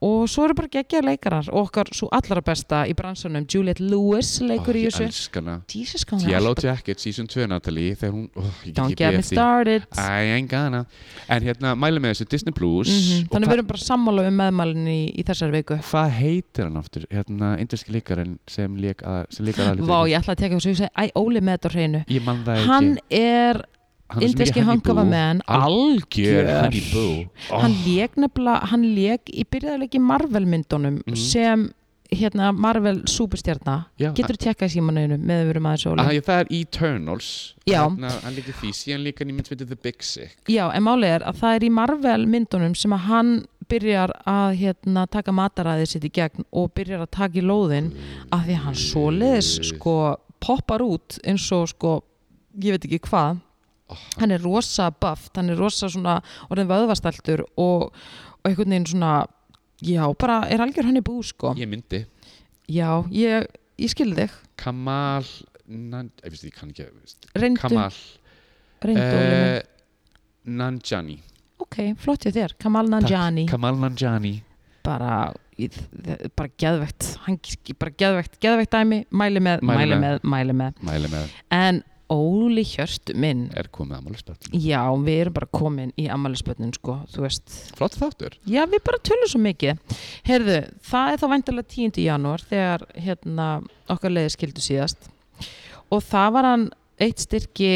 og svo eru bara geggjaðir leikarar og okkar svo allra besta í bransunum Juliette Lewis leikur í
Ó,
þessu
Ég elskana
Jesus, hvað hún er
Yellow
alltaf-
Jacket season 2 Natalie þegar hún oh, ég
Don't
get
get me
ekki beðið eftir
started
I ain't gonna En hérna mælum með þessu Disney Plus
Mhm,
og
Þannig við
hva-
erum bara sammála um meðmælinn í, í þessari viku
Hvað heitir hann aftur? Hérna inderski líkarinn sem lík að sem líkar aðalhlutverkið.
Vá, ég ætla að teka þessu og ég segi, æ, Óli með þetta á hreinu
Ég man það ekki
Hann er
Hann er svo mikið
indeski
Honey Boo.
hangafa menn
Algjör
Algjör.
Honey Boo oh,
Hann lék nefnilega, hann lék í byrjaðarleiki Marvel myndunum
Mhm.
sem hérna Marvel superstjarna
já,
Getur tjekkað í símanauðinu með að við erum aðeins Óli
að, Það er Eternals
Já.
Þarna, Hann líka því, síðan líka hann í myndsmyndið The Big Sick
Já, en málið er að það er í Marvel myndunum sem að hann byrjar að hérna, taka mataræðið sitt í gegn og byrjar að taka í lóðin af því að hann svoleiðis sko poppar út eins og sko ég veit ekki hvað
Ah.
hann er rosa buff, hann er rosa svona orðin vöðvastæltur og, og einhvern veginn svona já, bara er algjör hann í bú sko
Ég myndi
Já, ég, ég skil þig
Kamal Nan, ég veist ég kann ekki ég veist,
reyndu,
Kamal
reyndu uh,
eh, Nanjani
ok, flott ég þér, Kamal Nanjani
Kamal Nanjani
bara í- þ- bara geðvegt hann sk- bara geðvegt, geðvegt dæmi mæli með,
Mæli
mæli
með.
með, mæli með
Mæli með
en Óli Hjörstu minn
er komið að málisbætt
já, við erum bara komin í ammælisbötnin sko, þú veist
Flott þáttur
já, við bara tölum svo mikið heyrðu, það er þá væntalega 10. janúar þegar hérna okkar leiði skildu síðast og það var hann eitt styrki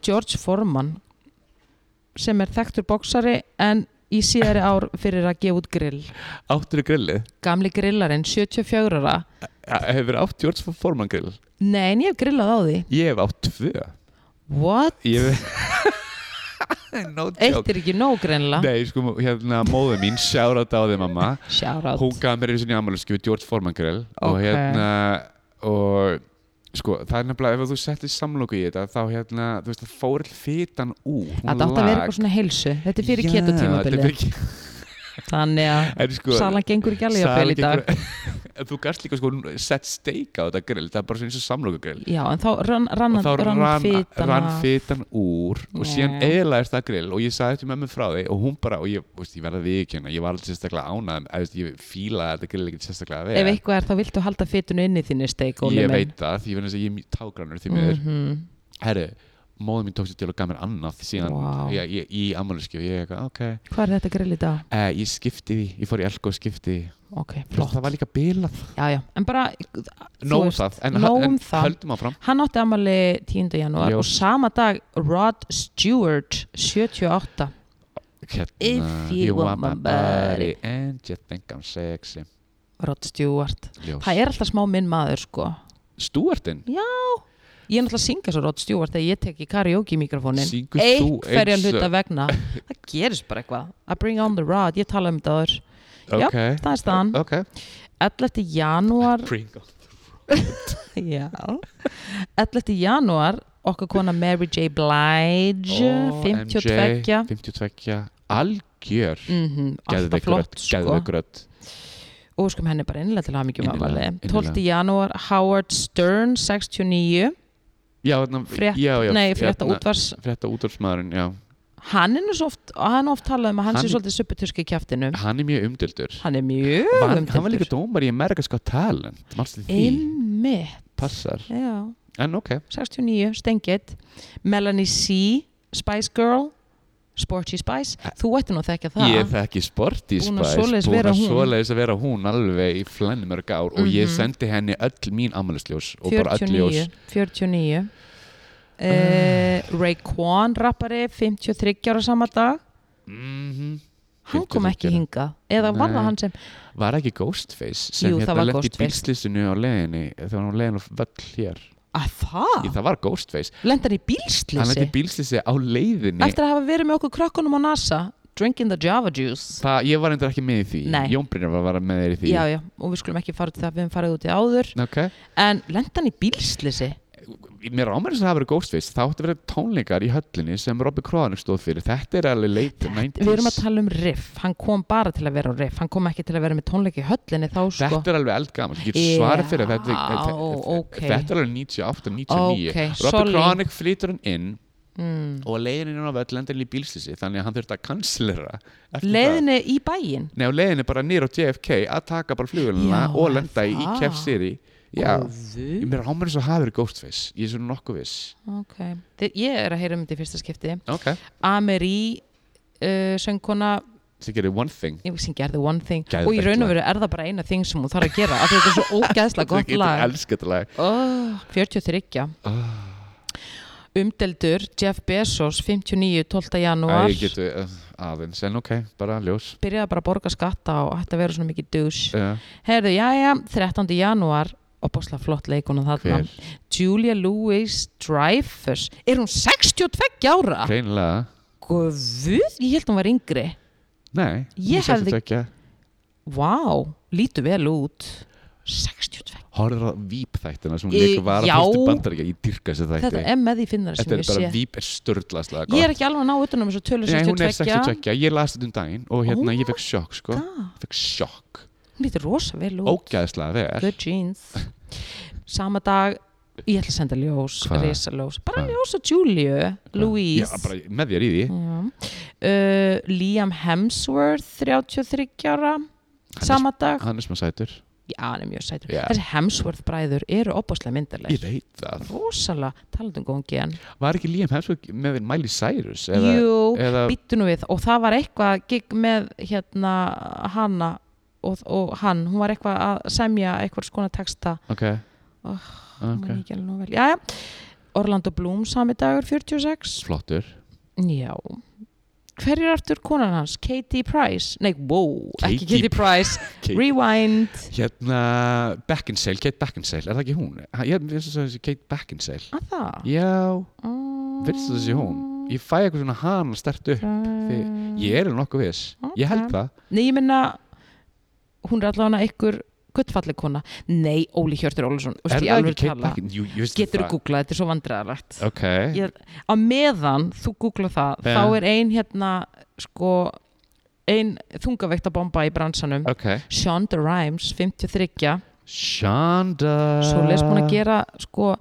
George Foreman sem er þekktur boksari en í síðari ár fyrir að gefa út grill
Áttur í grillið
gamli grillarinn, 74 ára
Hefur átt George Foreman grill
Nei, en ég hef grillað á því
Ég hef átt tvö
What?
Ég hef No joke
Eitt er ekki nóg greinlega
Nei, sko, hérna, móðu mín, sjára á þig mamma
Shout
hún
out
gaf mér einu sinni afmælisgjöf George Foreman grill og
Ok.
hérna og sko það er nefnilega ef þú settir samlóku í þetta þá hérna þú veist það fór all fitan úr hún
Þetta átt að vera
lak.
eitthvað svona heilsu Þetta er fyrir
Já,
keto
þetta er
tímabili
fyrir keto-
Þannig að
en sko
salan gengur ekki alveg að
salan
fel í dag
gengur- En þú gast líka sko sett steik á þetta grill það er bara svona eins og samlóku grill
Já, en þá rann, rann,
og þá
rann,
rann,
fitan
rann
af.
fitan úr og síðan
Nei.
eðlaðist það grill og ég sagði þetta með mig frá því og hún bara, og ég, veist, ég verði að viðkjöna ég var aldrei sérstaklega ánað, ég fílaði þetta grill ekki sérstaklega vel
Ef eitthvað er þá viltu halda fitunu inni í þinni steik Óli
ég
minn.
veit það, því ég finnst að ég er mjög tágrannur því miður.
Mhm.
Herru, móðum mín tók sér til og gaf mér annað síðan
Vá.
ég, ég, í ammæluskjöf, ég eitthvað, ok
Hvað er þetta grill í dag?
uh, ég skipti því, ég fór í elko og skipti því.
Ok, flott
það var líka bilað
Já, já, en bara
nóg um
veist,
það, en,
nóg um
en
það.
höldum áfram
Hann átti amali 10. janúar
Ljós.
og sama dag Rod Stewart 78
Hérna,
If you want my body.
and you think I'm sexy
Rod Stewart
Ljós.
Það er alltaf smá minn maður sko
Stúartinn?
Já ég er náttúrulega að syngja svo Rod Stewart þegar ég tek í karaoke mikrofónin
Syngur þú
einhverja
eins og-
hluta vegna það gerist bara eitthvað I bring on the rod, ég tala um þetta þar
Ok,
það er staðan,
ok
11. janúar
Pringle.
já 11. janúar okkar kona Mary J. Blige
Ó,
52
MJ, 52 algjör
mm alltaf
Geðveik
flott
rödd,
sko
geðveik rödd.
og við skulum henni bara innlega til hamingjum
Innilega,
afmæli
innilega.
12. um janúar Howard Stern 69
já, þarna-
frétt,
já, já, hérna.
nei, frétta
þarna-
útvars
frétta útvarsmaðurinn, já
hann er nú svo oft, hann er oft talað um að hann, sé
Hann-
svolítið suppeturski í kjæftinu
hann er mjög umdildur
hann er Mm. mjög
hann, hann var
umdeildur.
líka dómar í America Got Talent marstu því,
einmitt
passar
já,
en ok,
69, stengið Melanie C, Spice Girl Sporty Spice þú ætti nú að þekja það
ég þekki Sporty Spice
Búin að svoleiðis
búin
vera
að
hún. Mhm.
svoleiðis að vera hún alveg í flennmörg ár og ég sendi henni öll mín ammælisljós og bara öll
49,
ljós
49. Uh, Raekwon rappari 53 ára sama dag
mm
hann kom ekki
53.
hinga eða var það
Nei.
hann sem
var ekki Ghostface sem
Jú, það
hérna
var
lett í
Ghostface.
bílslýsinu á leiðinni þegar hún var á leiðin á völl hér
að
Ég,
það,
það var Ghostface
lenda hann í
hann lett
bílslýsi
í bílslýsi á leiðinni
eftir að hafa verið með okkur krökkunum á NASA drinking the java juice
það, ég var endur ekki með í því
Nei.
Jón Brynjar var að vera með þér í því
já já, og við skulum ekki fara til það við höfum farið út í áður
okay.
en lenda hann í bílslýsi
mér ámæri þess að það hafa verið Ghostface þá átti að vera tónleikar í höllinni sem Robby Kroanik stóð fyrir þetta er alveg late 90s
við erum að tala um riff, hann kom bara til að vera á riff, hann kom ekki til að vera með tónleiki í höllinni þá sko,
Þetta er alveg eldgammal, ég
Já,
get svarað fyrir að þetta, þetta,
ok.
þetta er alveg 98, 99
Ok, Mm. sorry.
Robby Kronik flytur hann inn og leiðin inn á völl lendir hann í bílslýsi þannig að hann þurfti að kanslera eftir það.
leiðinni í bæin
Nei, og leiðin er bara nýr á JFK að taka bara flugulina
Já,
og lenda í, í
það.
Kef City Já,
Guð.
ég mér ámæri svo hafi verið Ghostface ég er svo nokkuð viss
ok, Þe- ég er að heyra um þetta í fyrsta skipti
Ok,
Amerí uh, söngkona,
það gerir one thing
ég sem gerði One Thing og
Geðveikt
í raun
lag.
og veru er það bara eina þing sem hún þarf að gera af því þetta er svo ógeðslega
Ég
gott
get
lag
elska þetta lag
oh, 43
Ah.
umdeldur Jeff Bezos 59, 12.
Æ,
janúar
ég getu uh, aðeins, en ok, bara ljós
byrjaði bara að borga skatta og ætti að vera svona mikið douche
uh,
Herðu, jæja, 13. janúar og bósla flott leikuna þarna
Hver?
Julia Louis-Dreyfus er hún 62 ára?
Hreinlega,
Guð, ég held hún var yngri
nei
Ég hefði-
ekki
Vá, lítur vel út 62
horfður á vípþættina sem hún
Í-
leikur var að fyrstu
já.
bandaríkja ég dyrka þessi þætti
Þetta er með því finnari
Þetta
sem
er
ég
bara
sé
víp er störðlaslega
Ég er ekki alveg að ná utanum þessu tölu
Nei,
62
hún er 62, ég las þetta um daginn og hérna ég fekk sjokk sko
God,
ég fekk sjokk,
Hún lítur rosa vel út
ógæðslega vel
Good jeans Sama dag, ég ætla að senda ljós
Hvað?
Risa ljós, bara
Hvað?
ljós á Julia Louise
Já, bara með þér í því
Já. Uh, Liam Hemsworth 33 ára
er-
sama dag,
Hann er smá sætur
já hann er mjög sætur
Já.
þessi Hemsworth bræður eru opaslega
Ég
myndarlega
veit það
rosalega talandum góðan gen
Var ekki Liam Hemsworth með Miley Cyrus? Eða,
jú,
eða
býttu nú við og það var eitthvað gig með hérna hanna og, og hann, hún var eitthvað að semja eitthvað skona texta
ok
Oh,
Ok,
okay. já, já. Orlando Bloom sami dagur 46
flottur
Já Hver er aftur konan hans? Katie Price? Nei, wow, ekki
Katie-
Katie Price
Katie-
Rewind
Hérna, Beckinsale, Kate Beckinsale, er það ekki hún? Ha- Ég veist það þessi Kate Beckinsale
Að það?
Já,
Mm.
veist það þessi hún? Ég fæ eitthvað svona hana stert upp því- Ég er alveg nokkuð viss, ég held
Ok.
það
Nei, ég minna hún er allavega ykkur guttfalleg kona Nei, Óli Hjörtur Ólusson
Er það ekki Kate Beckinsale? Jú, ég veist
Getur þú
það
googlað, þetta er svo vandræðarlegt
Ok,
Ég- Á meðan þú googlað það
Já.
þá er ein hérna sko ein þungavekta bomba í bransanum
ok
Shonda Rhimes, 53
Shonda
svo les búin að gera sko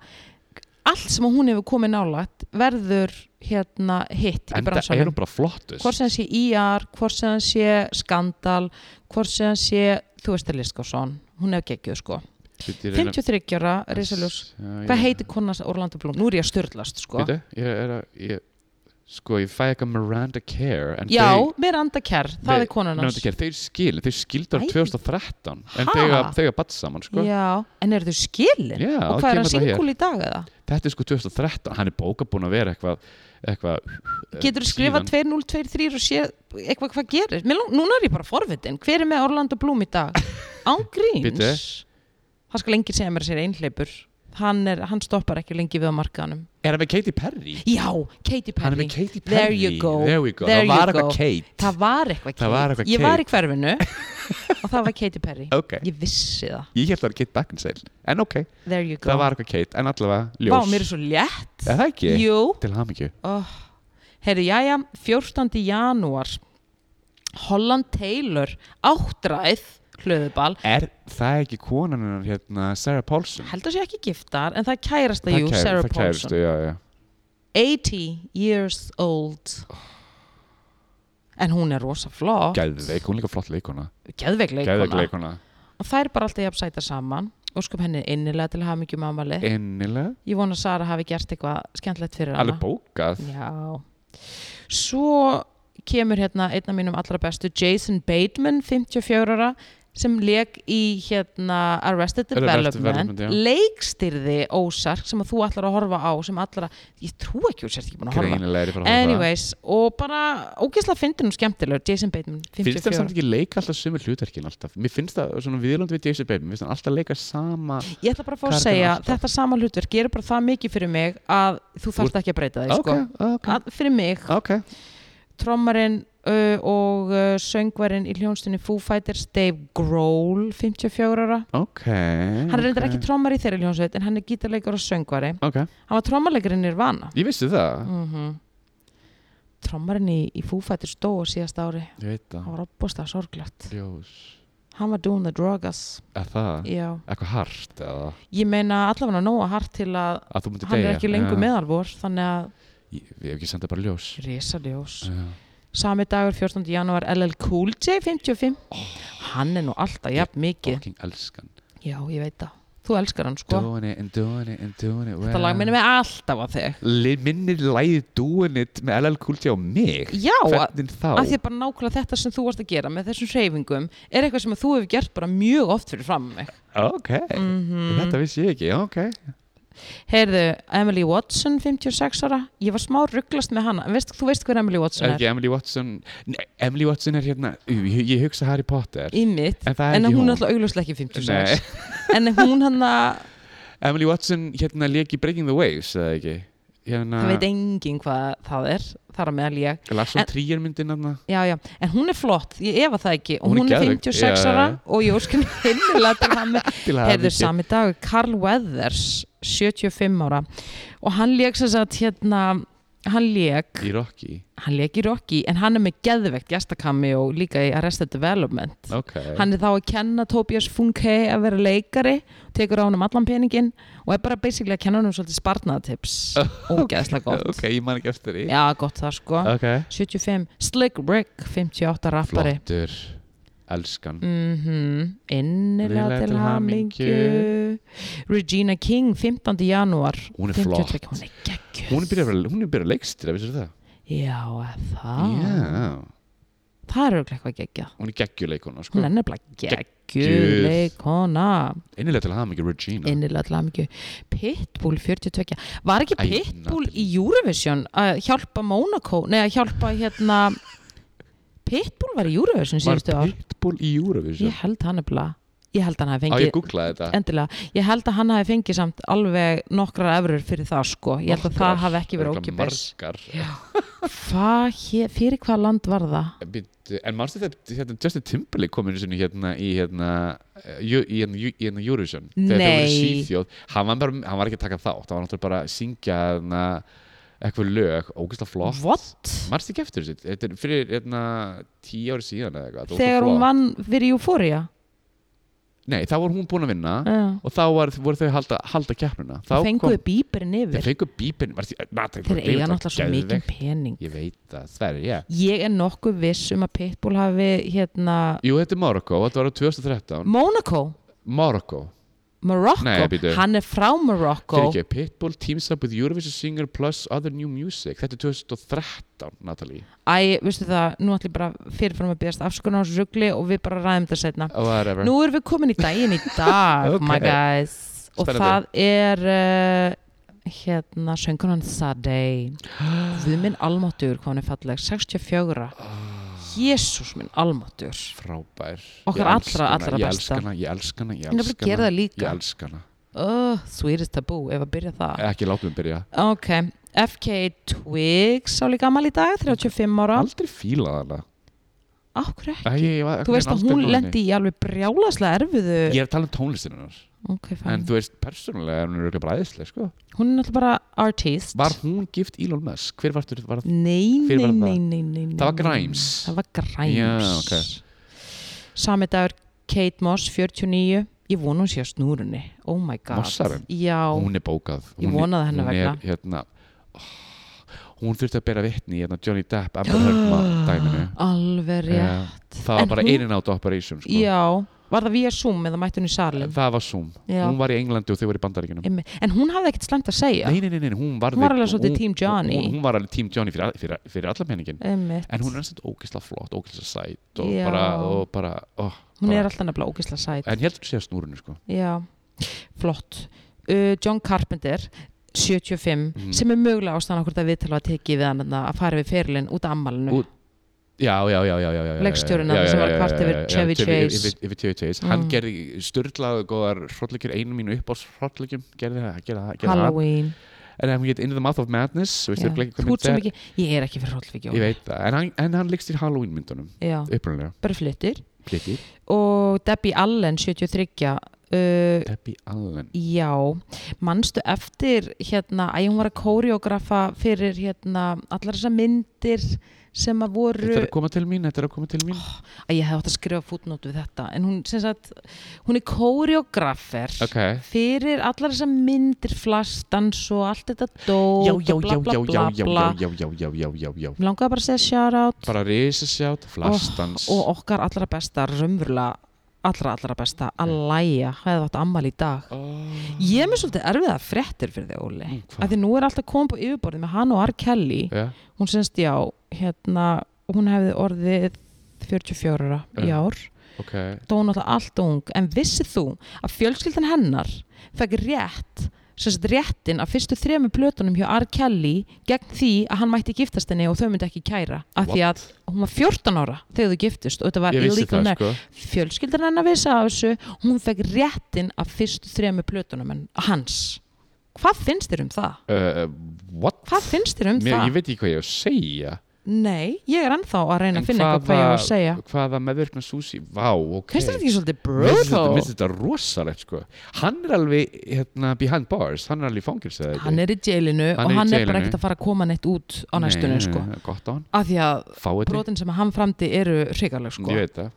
allt sem hún hefur komið nálægt verður hérna hitt í
En það er
bransanum
hún bara flottust
hvort sem hann sé IR, hvort sem hann sé skandal, hvort sem hann sé þú veist að Liskásson, hún hefur geggjuð sko 53 ára, Risaljós hvað heitir konans Orlando Bloom? Nú er ég að störlast sko
Býtu, ég er að ég, Sko, ég fæ eitthvað Miranda Kerr en
já,
þau-
Miranda Kerr, það
þau-
er konan hans
Miranda Kerr, þau skil, þau skildar
Æ.
2013 En
Ha?
þau að- þau að batt saman, sko
já, en eru þau skilin?
Já,
og
það
hvað er hann
kemur það hér.
singul í dag eða?
Þetta er sko 2013, hann er bóka búin að vera eitthvað eitthvað eh,
getur þú
síðan.
skrifað 2023 og sé eitthvað hvað gerir Mér, lang- núna er ég bara forvitin, hver er með Orlando Bloom í dag ángríns
Bíddu.
það skal enginn segja mér að sér einhleipur hann, er, hann stoppar ekki lengi við á markaðanum
Er það með Katy Perry?
já, Katy
Hann er
Perry
með Katy Perry
There you go.
There we go.
There
Það var
you go.
eitthvað Kate
það var eitthvað
Það var
Kate.
eitthvað
ég var í hverfinu og það var Katy Perry
Ok,
ég vissi það,
ég held að það var Kate Beckinsale En ok,
there you go
það var eitthvað Kate En allavega ljós
Vá, mér er svo létt
Er það ekki?
jú,
Til hamingju
oh. herri, jæja 14. janúar Holland Taylor áttræð hlöðubal
Er það ekki konan hennar hérna Sarah Paulson?
held að sé ekki giftar en það er kærasta jú,
kæri-
Sarah
það
Paulson
kæristu, já, já.
80 years old
Oh.
en hún er rosa flott
Geðveik, hún er líka flott leikona
geðveik
Geðveik
leikona
leikona
og þær bara alltaf jafn sæta saman og skup henni innilega til að hafa mikið mamali
Eh. Ennilega,
ég vona að Sara hafi gert eitthvað skemmtlegt fyrir hana
alveg bókað
Já. Svo kemur hérna einn af mínum allra bestu Jason Bateman, 54 ára sem leik í hérna Arrested Development,
Arrested Development, já.
leikstyrði Ósark sem að þú ætlar að horfa á sem allra, ég trú ekki úr sér ekki búin að horfa
Greinilega er ég bara að horfa á það.
Anyways, og bara ógeðslega fyndin og skemmtilegur Jason Bateman,
Finnst þér
54
samt ekki leika alltaf sömu hlutverkin alltaf? Mér finnst það svona viðlönd við Jason Bateman, mér finnst hann alltaf leika sama
Ég ætla bara að fá að
Karakterinn
segja,
alltaf.
þetta sama hlutverk gerir bara það mikið fyrir mig að þú
ert-
þarft ekki að breyta því
Ok, ok, Ah.
sko. að, fyrir mig
ok
trommarinn uh, og uh, söngvarinn í hljónstunni Foo Fighters Dave Grohl, 54 ára
Ok
hann er reyndar
ok.
ekki trommar í þeirri hljónsveit en hann er gítarleikar og söngvari
Ok,
hann var trommarleikarinn í Nirvana
ég vissi það
mm trommarinn í, í Foo Fighters dó á síðasta ári
Ég veit
hann
það
var opbústa sorglegt
Ljós
hann var doing the drugas
Er það?
Já.
Eitthvað hart eða
ég meina allavega nóga hart til að
að þú myndir
hann er
deyja
ekki lengur
Já.
meðalvor þannig að
Ég ég hef ekki sendað bara ljós
risaljós
Já.
sami dagur 14. janúar LL Cool J 55 hann er nú alltaf jafn mikið
Fucking elskan
Já, ég veit það. Þú elskar hann, sko.
Doing it and doing it and doing it
Þetta lag minnir mig alltaf að þig.
mig Minnir læðið doing it með LL Cool J á mig
Já, að
Hvernig þá?
að því að bara nákvæmlega þetta sem þú varst að gera með þessum hreyfingum er eitthvað sem að þú hefur gert bara mjög oft fyrir fram mig.
Ok,
Mm.
þetta vissi ég ekki, ok
Mhm. Heyrðu, Emily Watson, 56 ára, ég var smá rugglast með hana. En Veist, þú veist hver Emily Watson
Er
er?
ekki Emily Watson Nei, Emily Watson er hérna Ú, ég, ég hugsa Harry Potter
Í mitt.
En það er
En
ekki
hún
hún
er alltaf augljóslega ekki 56.
Nei,
En hún hann að,
Emily Watson hérna lék í Breaking the Waves eða ekki hérna,
það veit enginn hvað það er, þar að meðal ég.
Larsson
en-
Trier myndin hérna
Já, já, en hún er flott, ég efa það ekki. Og
Hún er
hún, er
geðveik,
56
já,
ára
já.
og ég óskan hinnilega til hann
til að
Herðu sami dag, Carl Weathers 75 ára og hann leik sem sagt hérna hann leik,
í Rocky
hann leik í Rocky en hann er með geðvegt gestakami og líka í Arrested Development
ok
hann er þá að kenna Tobias Funke að vera leikari, tekur á hann um allan peningin og er bara basically að kenna hann um svolítið spartnaðatips og geðslega gott
ok, ég man ekki eftir því
já, gott það sko
ok
75, Slick Rick 58 rappari
flottur elskan
Mhm, innilega
Innilega
til
til
hamingju
hamingju.
Regina King, 15. janúar
Hún er flott.
Hún er geggjöð
hún er byrjað að- hún er byrjað að leikstýra, vissir það
Já, er það
já
Það er auðvitað eitthvað geggjað
hún er geggjuleikona sko
Hún er nefnilega
Geggjuð.
geggjuleik Hona,
innilega til að hafa mikið Regina
innilega til hamingju Pitbull, 42 Var ekki
Æ,
Pitbull
Natalie.
í Eurovision að hjálpa Monaco Nei, að hjálpa hérna Pitbull var í Eurovision
var
síðustu ár
Pitbull í Eurovision
Ég held hann nefnilega Ég held hann hafi
á
fengið
ég googlaði þetta
endilega, ég held að hann hafi fengið samt alveg nokkrar efrur fyrir það sko ég held að það
Nokkrar,
hafi ekki verið
örugglega
ókipis
margar
Hvað hér- fyrir hvað land var það?
Bittu, en mannstu þetta hérna, Justin Timberlake kom einu sinni hérna í hérna eh, ju- í hérna ju- í hérna Eurovision þegar það voru í
Nei.
Svíþjóð hann var, bara, hann var ekki að taka þátt hann var náttúrulega bara að syngja hérna, eitthvað lög, ógeðslega flott
What?
mannstu ekki eftir þessu Þetta er fyrir hérna, tíu ári síðan eða eitthvað þetta var
Þegar
svo
hún
flott.
vann fyrir Euphoria
nei, þá var hún búin að vinna
uh,
og þá var, voru þau að halda, halda keppnuna þá
fenguðu bíberinn
kom þeir
yfir
fengu eh, bípin þeir
þeir eiga náttúrulega svo mikið pening
ég veit það, það er ég
ég er nokkuð viss um að Pitbull hafi hérna
Jú, þetta er Morocco, þetta var á 2013
Monaco,
Morocco
Morocco
Nei, býtu.
hann er frá Morocco
Fyrir ekki, Pitbull teams up with Eurovision singer plus other new music Þetta er 2013, Natalie
Æ, veistu það, nú ætlum ég bara fyrirfram að byrjast afskunar á þessu rugli og við bara ræðum þetta setna
Whatever
Nú erum við komin í daginn í dag
Ok.
My guys Og það
Spennandi.
er uh, hérna söngunan Sadei Guð minn almáttur hvað hún er falleg 64 Jésús minn almáttur
Frábær
Okkar
Ég
allra,
elska hana,
allra
Ah. Ég
besta.
elska hana, ég elska hana, ég
Ég nefnilega
elska
gera
hana
það líka.
Ég elska hana Eh,
uh, Swedish Taboo, ef að byrja það
ekki látum við byrja
ok, FK Twigs á líka gammal í dag, 35 ára
aldrei fílað hana
ákveð ekki,
Æ, ég var-
þú veist
aldrei
að hún
náð henni.
lendi í alveg brjálaslega erfiðu
ég er að tala um tónlistin hennar
ok,
en
fæn,
þú veist, persónulega er hún er ekki bræðislega sko.
hún er náttúrulega bara artist
var hún gift Elon Musk? hver var þetta? Var...
nei, nei,
Hver var það?
nei, nei, nei, nei
það var Grimes
það var Grimes
Já, ok.
sami dagur Kate Moss, 49 ég vona hún sé á snúrunni oh my god
Mossarinn?
já,
hún er bókað
Ég
hún, er-
vonaði hennar
hún er,
vegna.
hérna, oh, hún þurfti að bera vitni í, hérna, Johnny Depp, Amber Heard dæminu
alveg rétt
yeah. það var
En
bara
hún-
hún... einin át operation sko.
Já, var það via Zoom eða mætti hún í salin?
það var Zoom
Já.
hún var í Englandi og þau voru í Bandaríkinum
Einmi- En hún hafði ekkert slæmt að segja.
nei, nei, nei, nei, hún var,
Hún var alveg svolítið team Johnny.
hún, hún var alveg tím Johnny fyrir, fyrir, fyrir alla peningin
Einmitt.
en hún er næstum ógislega flott, ógislega sæt og
Já.
bara, og bara, oh,
Hún er
bara
alltaf nefnilega ógislega sæt.
en ég heldur að sé að snúrinu sko
Já, flott. Uh, John Carpenter, 75,
Mhm.
sem er mögulega ástæðan okkur það viðtala að tekið við hann þarna að fara við ferilinn út af ammalinu.
Út- já, já, já, já, já, já, já, já
Leikstjórinn
já,
þarna
já,
sem
já,
var
já,
kvart
já,
yfir
já, já,
Chevy Chase.
yfir- yfir Chevy Chase, hann
Mm.
gerði störlaðu góðar hrottleikjur einu mínu upp á hrottleikjum gerði það, gerði það, gerði það
Halloween.
en hann get In the Mouth of Madness,
Já.
veist
Þú
þér ekki hvað
ert
mynd
svo
er
mikið, ég er ekki fyrir Hrollvíkjó.
ég veit það, en hann, en hann leikst í Halloween myndunum
Já,
upprunalega,
bara flyttir.
plikir
Og Debbie Allen, 73, uh,
Debbie Allen
Já, mannstu eftir hérna, að hún var að kóriógrafa fyrir hérna allar þessar myndir sem að voru
Þetta er að koma til mín, þetta er að koma til mín
að ég hefði átt að skrifa fútnót við þetta en hún, sem sagt, hún er kóriógrafer
Ok,
fyrir allar þessar myndir flastans og allt þetta dót
já,
og
já, já,
bla,
já,
bla, bla,
já, já, já,
bla.
já, já, já, já, já, já
Mér langaði bara að segja shoutout
Bara risasjátt,
Oh,
flastans
og okkar allra besta, raunverulega allra allra besta, Alaya hefði átt ammal í dag
Oh.
Ég er með svolítið erfiða fréttir fyrir þig, Óli.
Mm, hvað?
Af því nú er alltaf komið på yfirborðið með hann og R. Kelly.
Já,
Hún semst, já, hérna, hún hefði orðið 44 ára í
Já.
ár.
ok
Þá var hún alltaf allt ung. En vissið þú að fjölskyldan hennar fekk rétt, semst réttin af fyrstu þremu plötunum hjá R. Kelly gegn því að hann mætti giftast henni og þau myndi ekki kæra. Af því að hún var 14 ára þegar þau giftust og þetta var
Ég vissi
illegal
það,
marriage
sko
fjölskyldan hennar vissi af þessu hún fekk réttin af fyrstu þremu plötunum en- hans hvað finnst þér um það?
Uh, What?
hvað finnst þér um
Mér,
það?
ég veit ekki hvað ég á að segja
nei, ég er ennþá að reyna
En
að finna eitthvað hvað ég á að segja
Hvaða meðverkna Susi, vá, ok
finnst þér þetta ekki svolítið
Mér finnst þetta- mér
brutal?
finnst þetta rosalegt sko Hann er alveg, hérna, behind bars Hann er alveg í fangils
hann er í jailinu
Hann
og
er í
hann er
jailinu.
bara ekkert að fara að koma neitt út á næstunni sko
Gott á hann,
af því að
fáið þig
brotin sem hann framdi eru hrigaleg sko
Ég veit það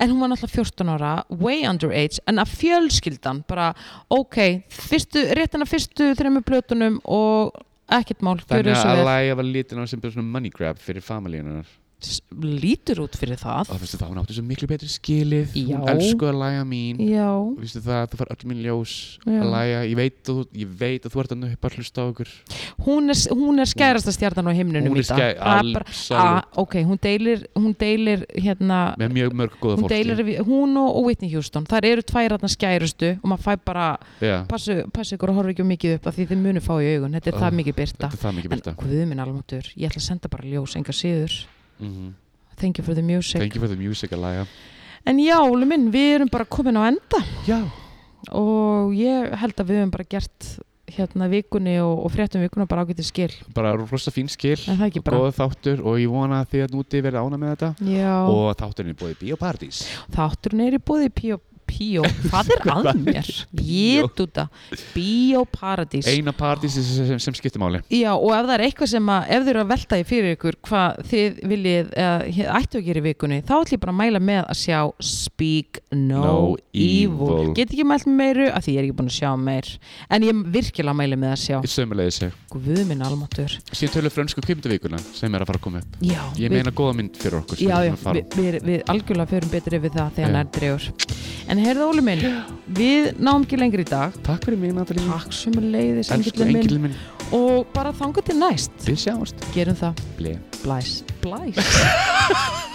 en hún var náttúrulega 14 ára, way underage en að fjölskyldan bara ok, fyrstu, réttina fyrstu þremur blötunum og ekkert mál, gjörðu
Þannig
þessu
að
vel
Alaya var lítin á sem bara svona money grab fyrir familíunar
s- lítur út fyrir það
og þú veistu það, hún átti svo miklu betri skilið
Já.
hún elsku Alaya mín
já,
Þú veistu það, þú fær öll mín ljós
Já.
Alaya, ég veit, að þú, ég veit að þú ert að nöppa hlusta á okkur
hún er, hún er skærasta stjarnan á himnunum
Hún
í
er
dag Það
skæ-
er bara-
absolutt.
a- ok, hún deilir hún deilir hérna
með mjög mörg góða
hún
fólki
deilir við, hún og, og Whitney Houston þar eru tvær þarna skærustu og maður fæ bara
Já,
passu, passu ykkur og horfa ekki of mikið upp af því þið munu fá í augun, þetta er
Oh,
það mikið byrta
þetta er það mikið
en
byrta
hvað minn almáttur, ég ætla að senda bara ljós enga síður,
mm -hmm.
thank you for the music
Thank you for the music Alaya
en já, Óli minn, við erum bara komin á enda
Já,
og ég held að við höfum bara gert hérna vikunni og, og fréttum vikuna bara ágætið skil
bara rosa fín skil
en það ekki bara
góða þáttur og ég vona að þið að núti verið ána með þetta
Já,
og þátturinn er búið Bíóparadís
þátturinn er í búði Píó, Píó, hvað er að mér? Jétúta, Bíó Paradís
eina paradís sem, sem, sem skiptir máli
Já, og ef það er eitthvað sem að, ef þið eru að velta í fyrir ykkur hvað þið viljið, eða hér- ættu að gera í vikunni, þá ætlum ég bara að mæla með að sjá Speak No,
No
Evil.
Evil.
Get ekki mælt með meiru, af því ég er ekki búin að sjá meir, en ég virkilega mæli með að sjá, Sko,
Sömulegis
guð minn almatur.
Síðan tölum við frönsku kvikmyndavíkuna sem er að fara að koma upp
Já,
Ég meina góða mynd fyrir okkur
Já, já, við,
við,
við, við algjörlega förum betur yfir það þegar
Já.
hann er drefur. En heyrðu Óli minn, við náum ekki lengri í dag.
Takk fyrir mig, Natalie
Takk sem er leiðis,
Elsku
engillin minn.
engilin minn
Og bara þanga til næst.
Við sjáumst
Gerum það.
Blei
Blæs. Blæs.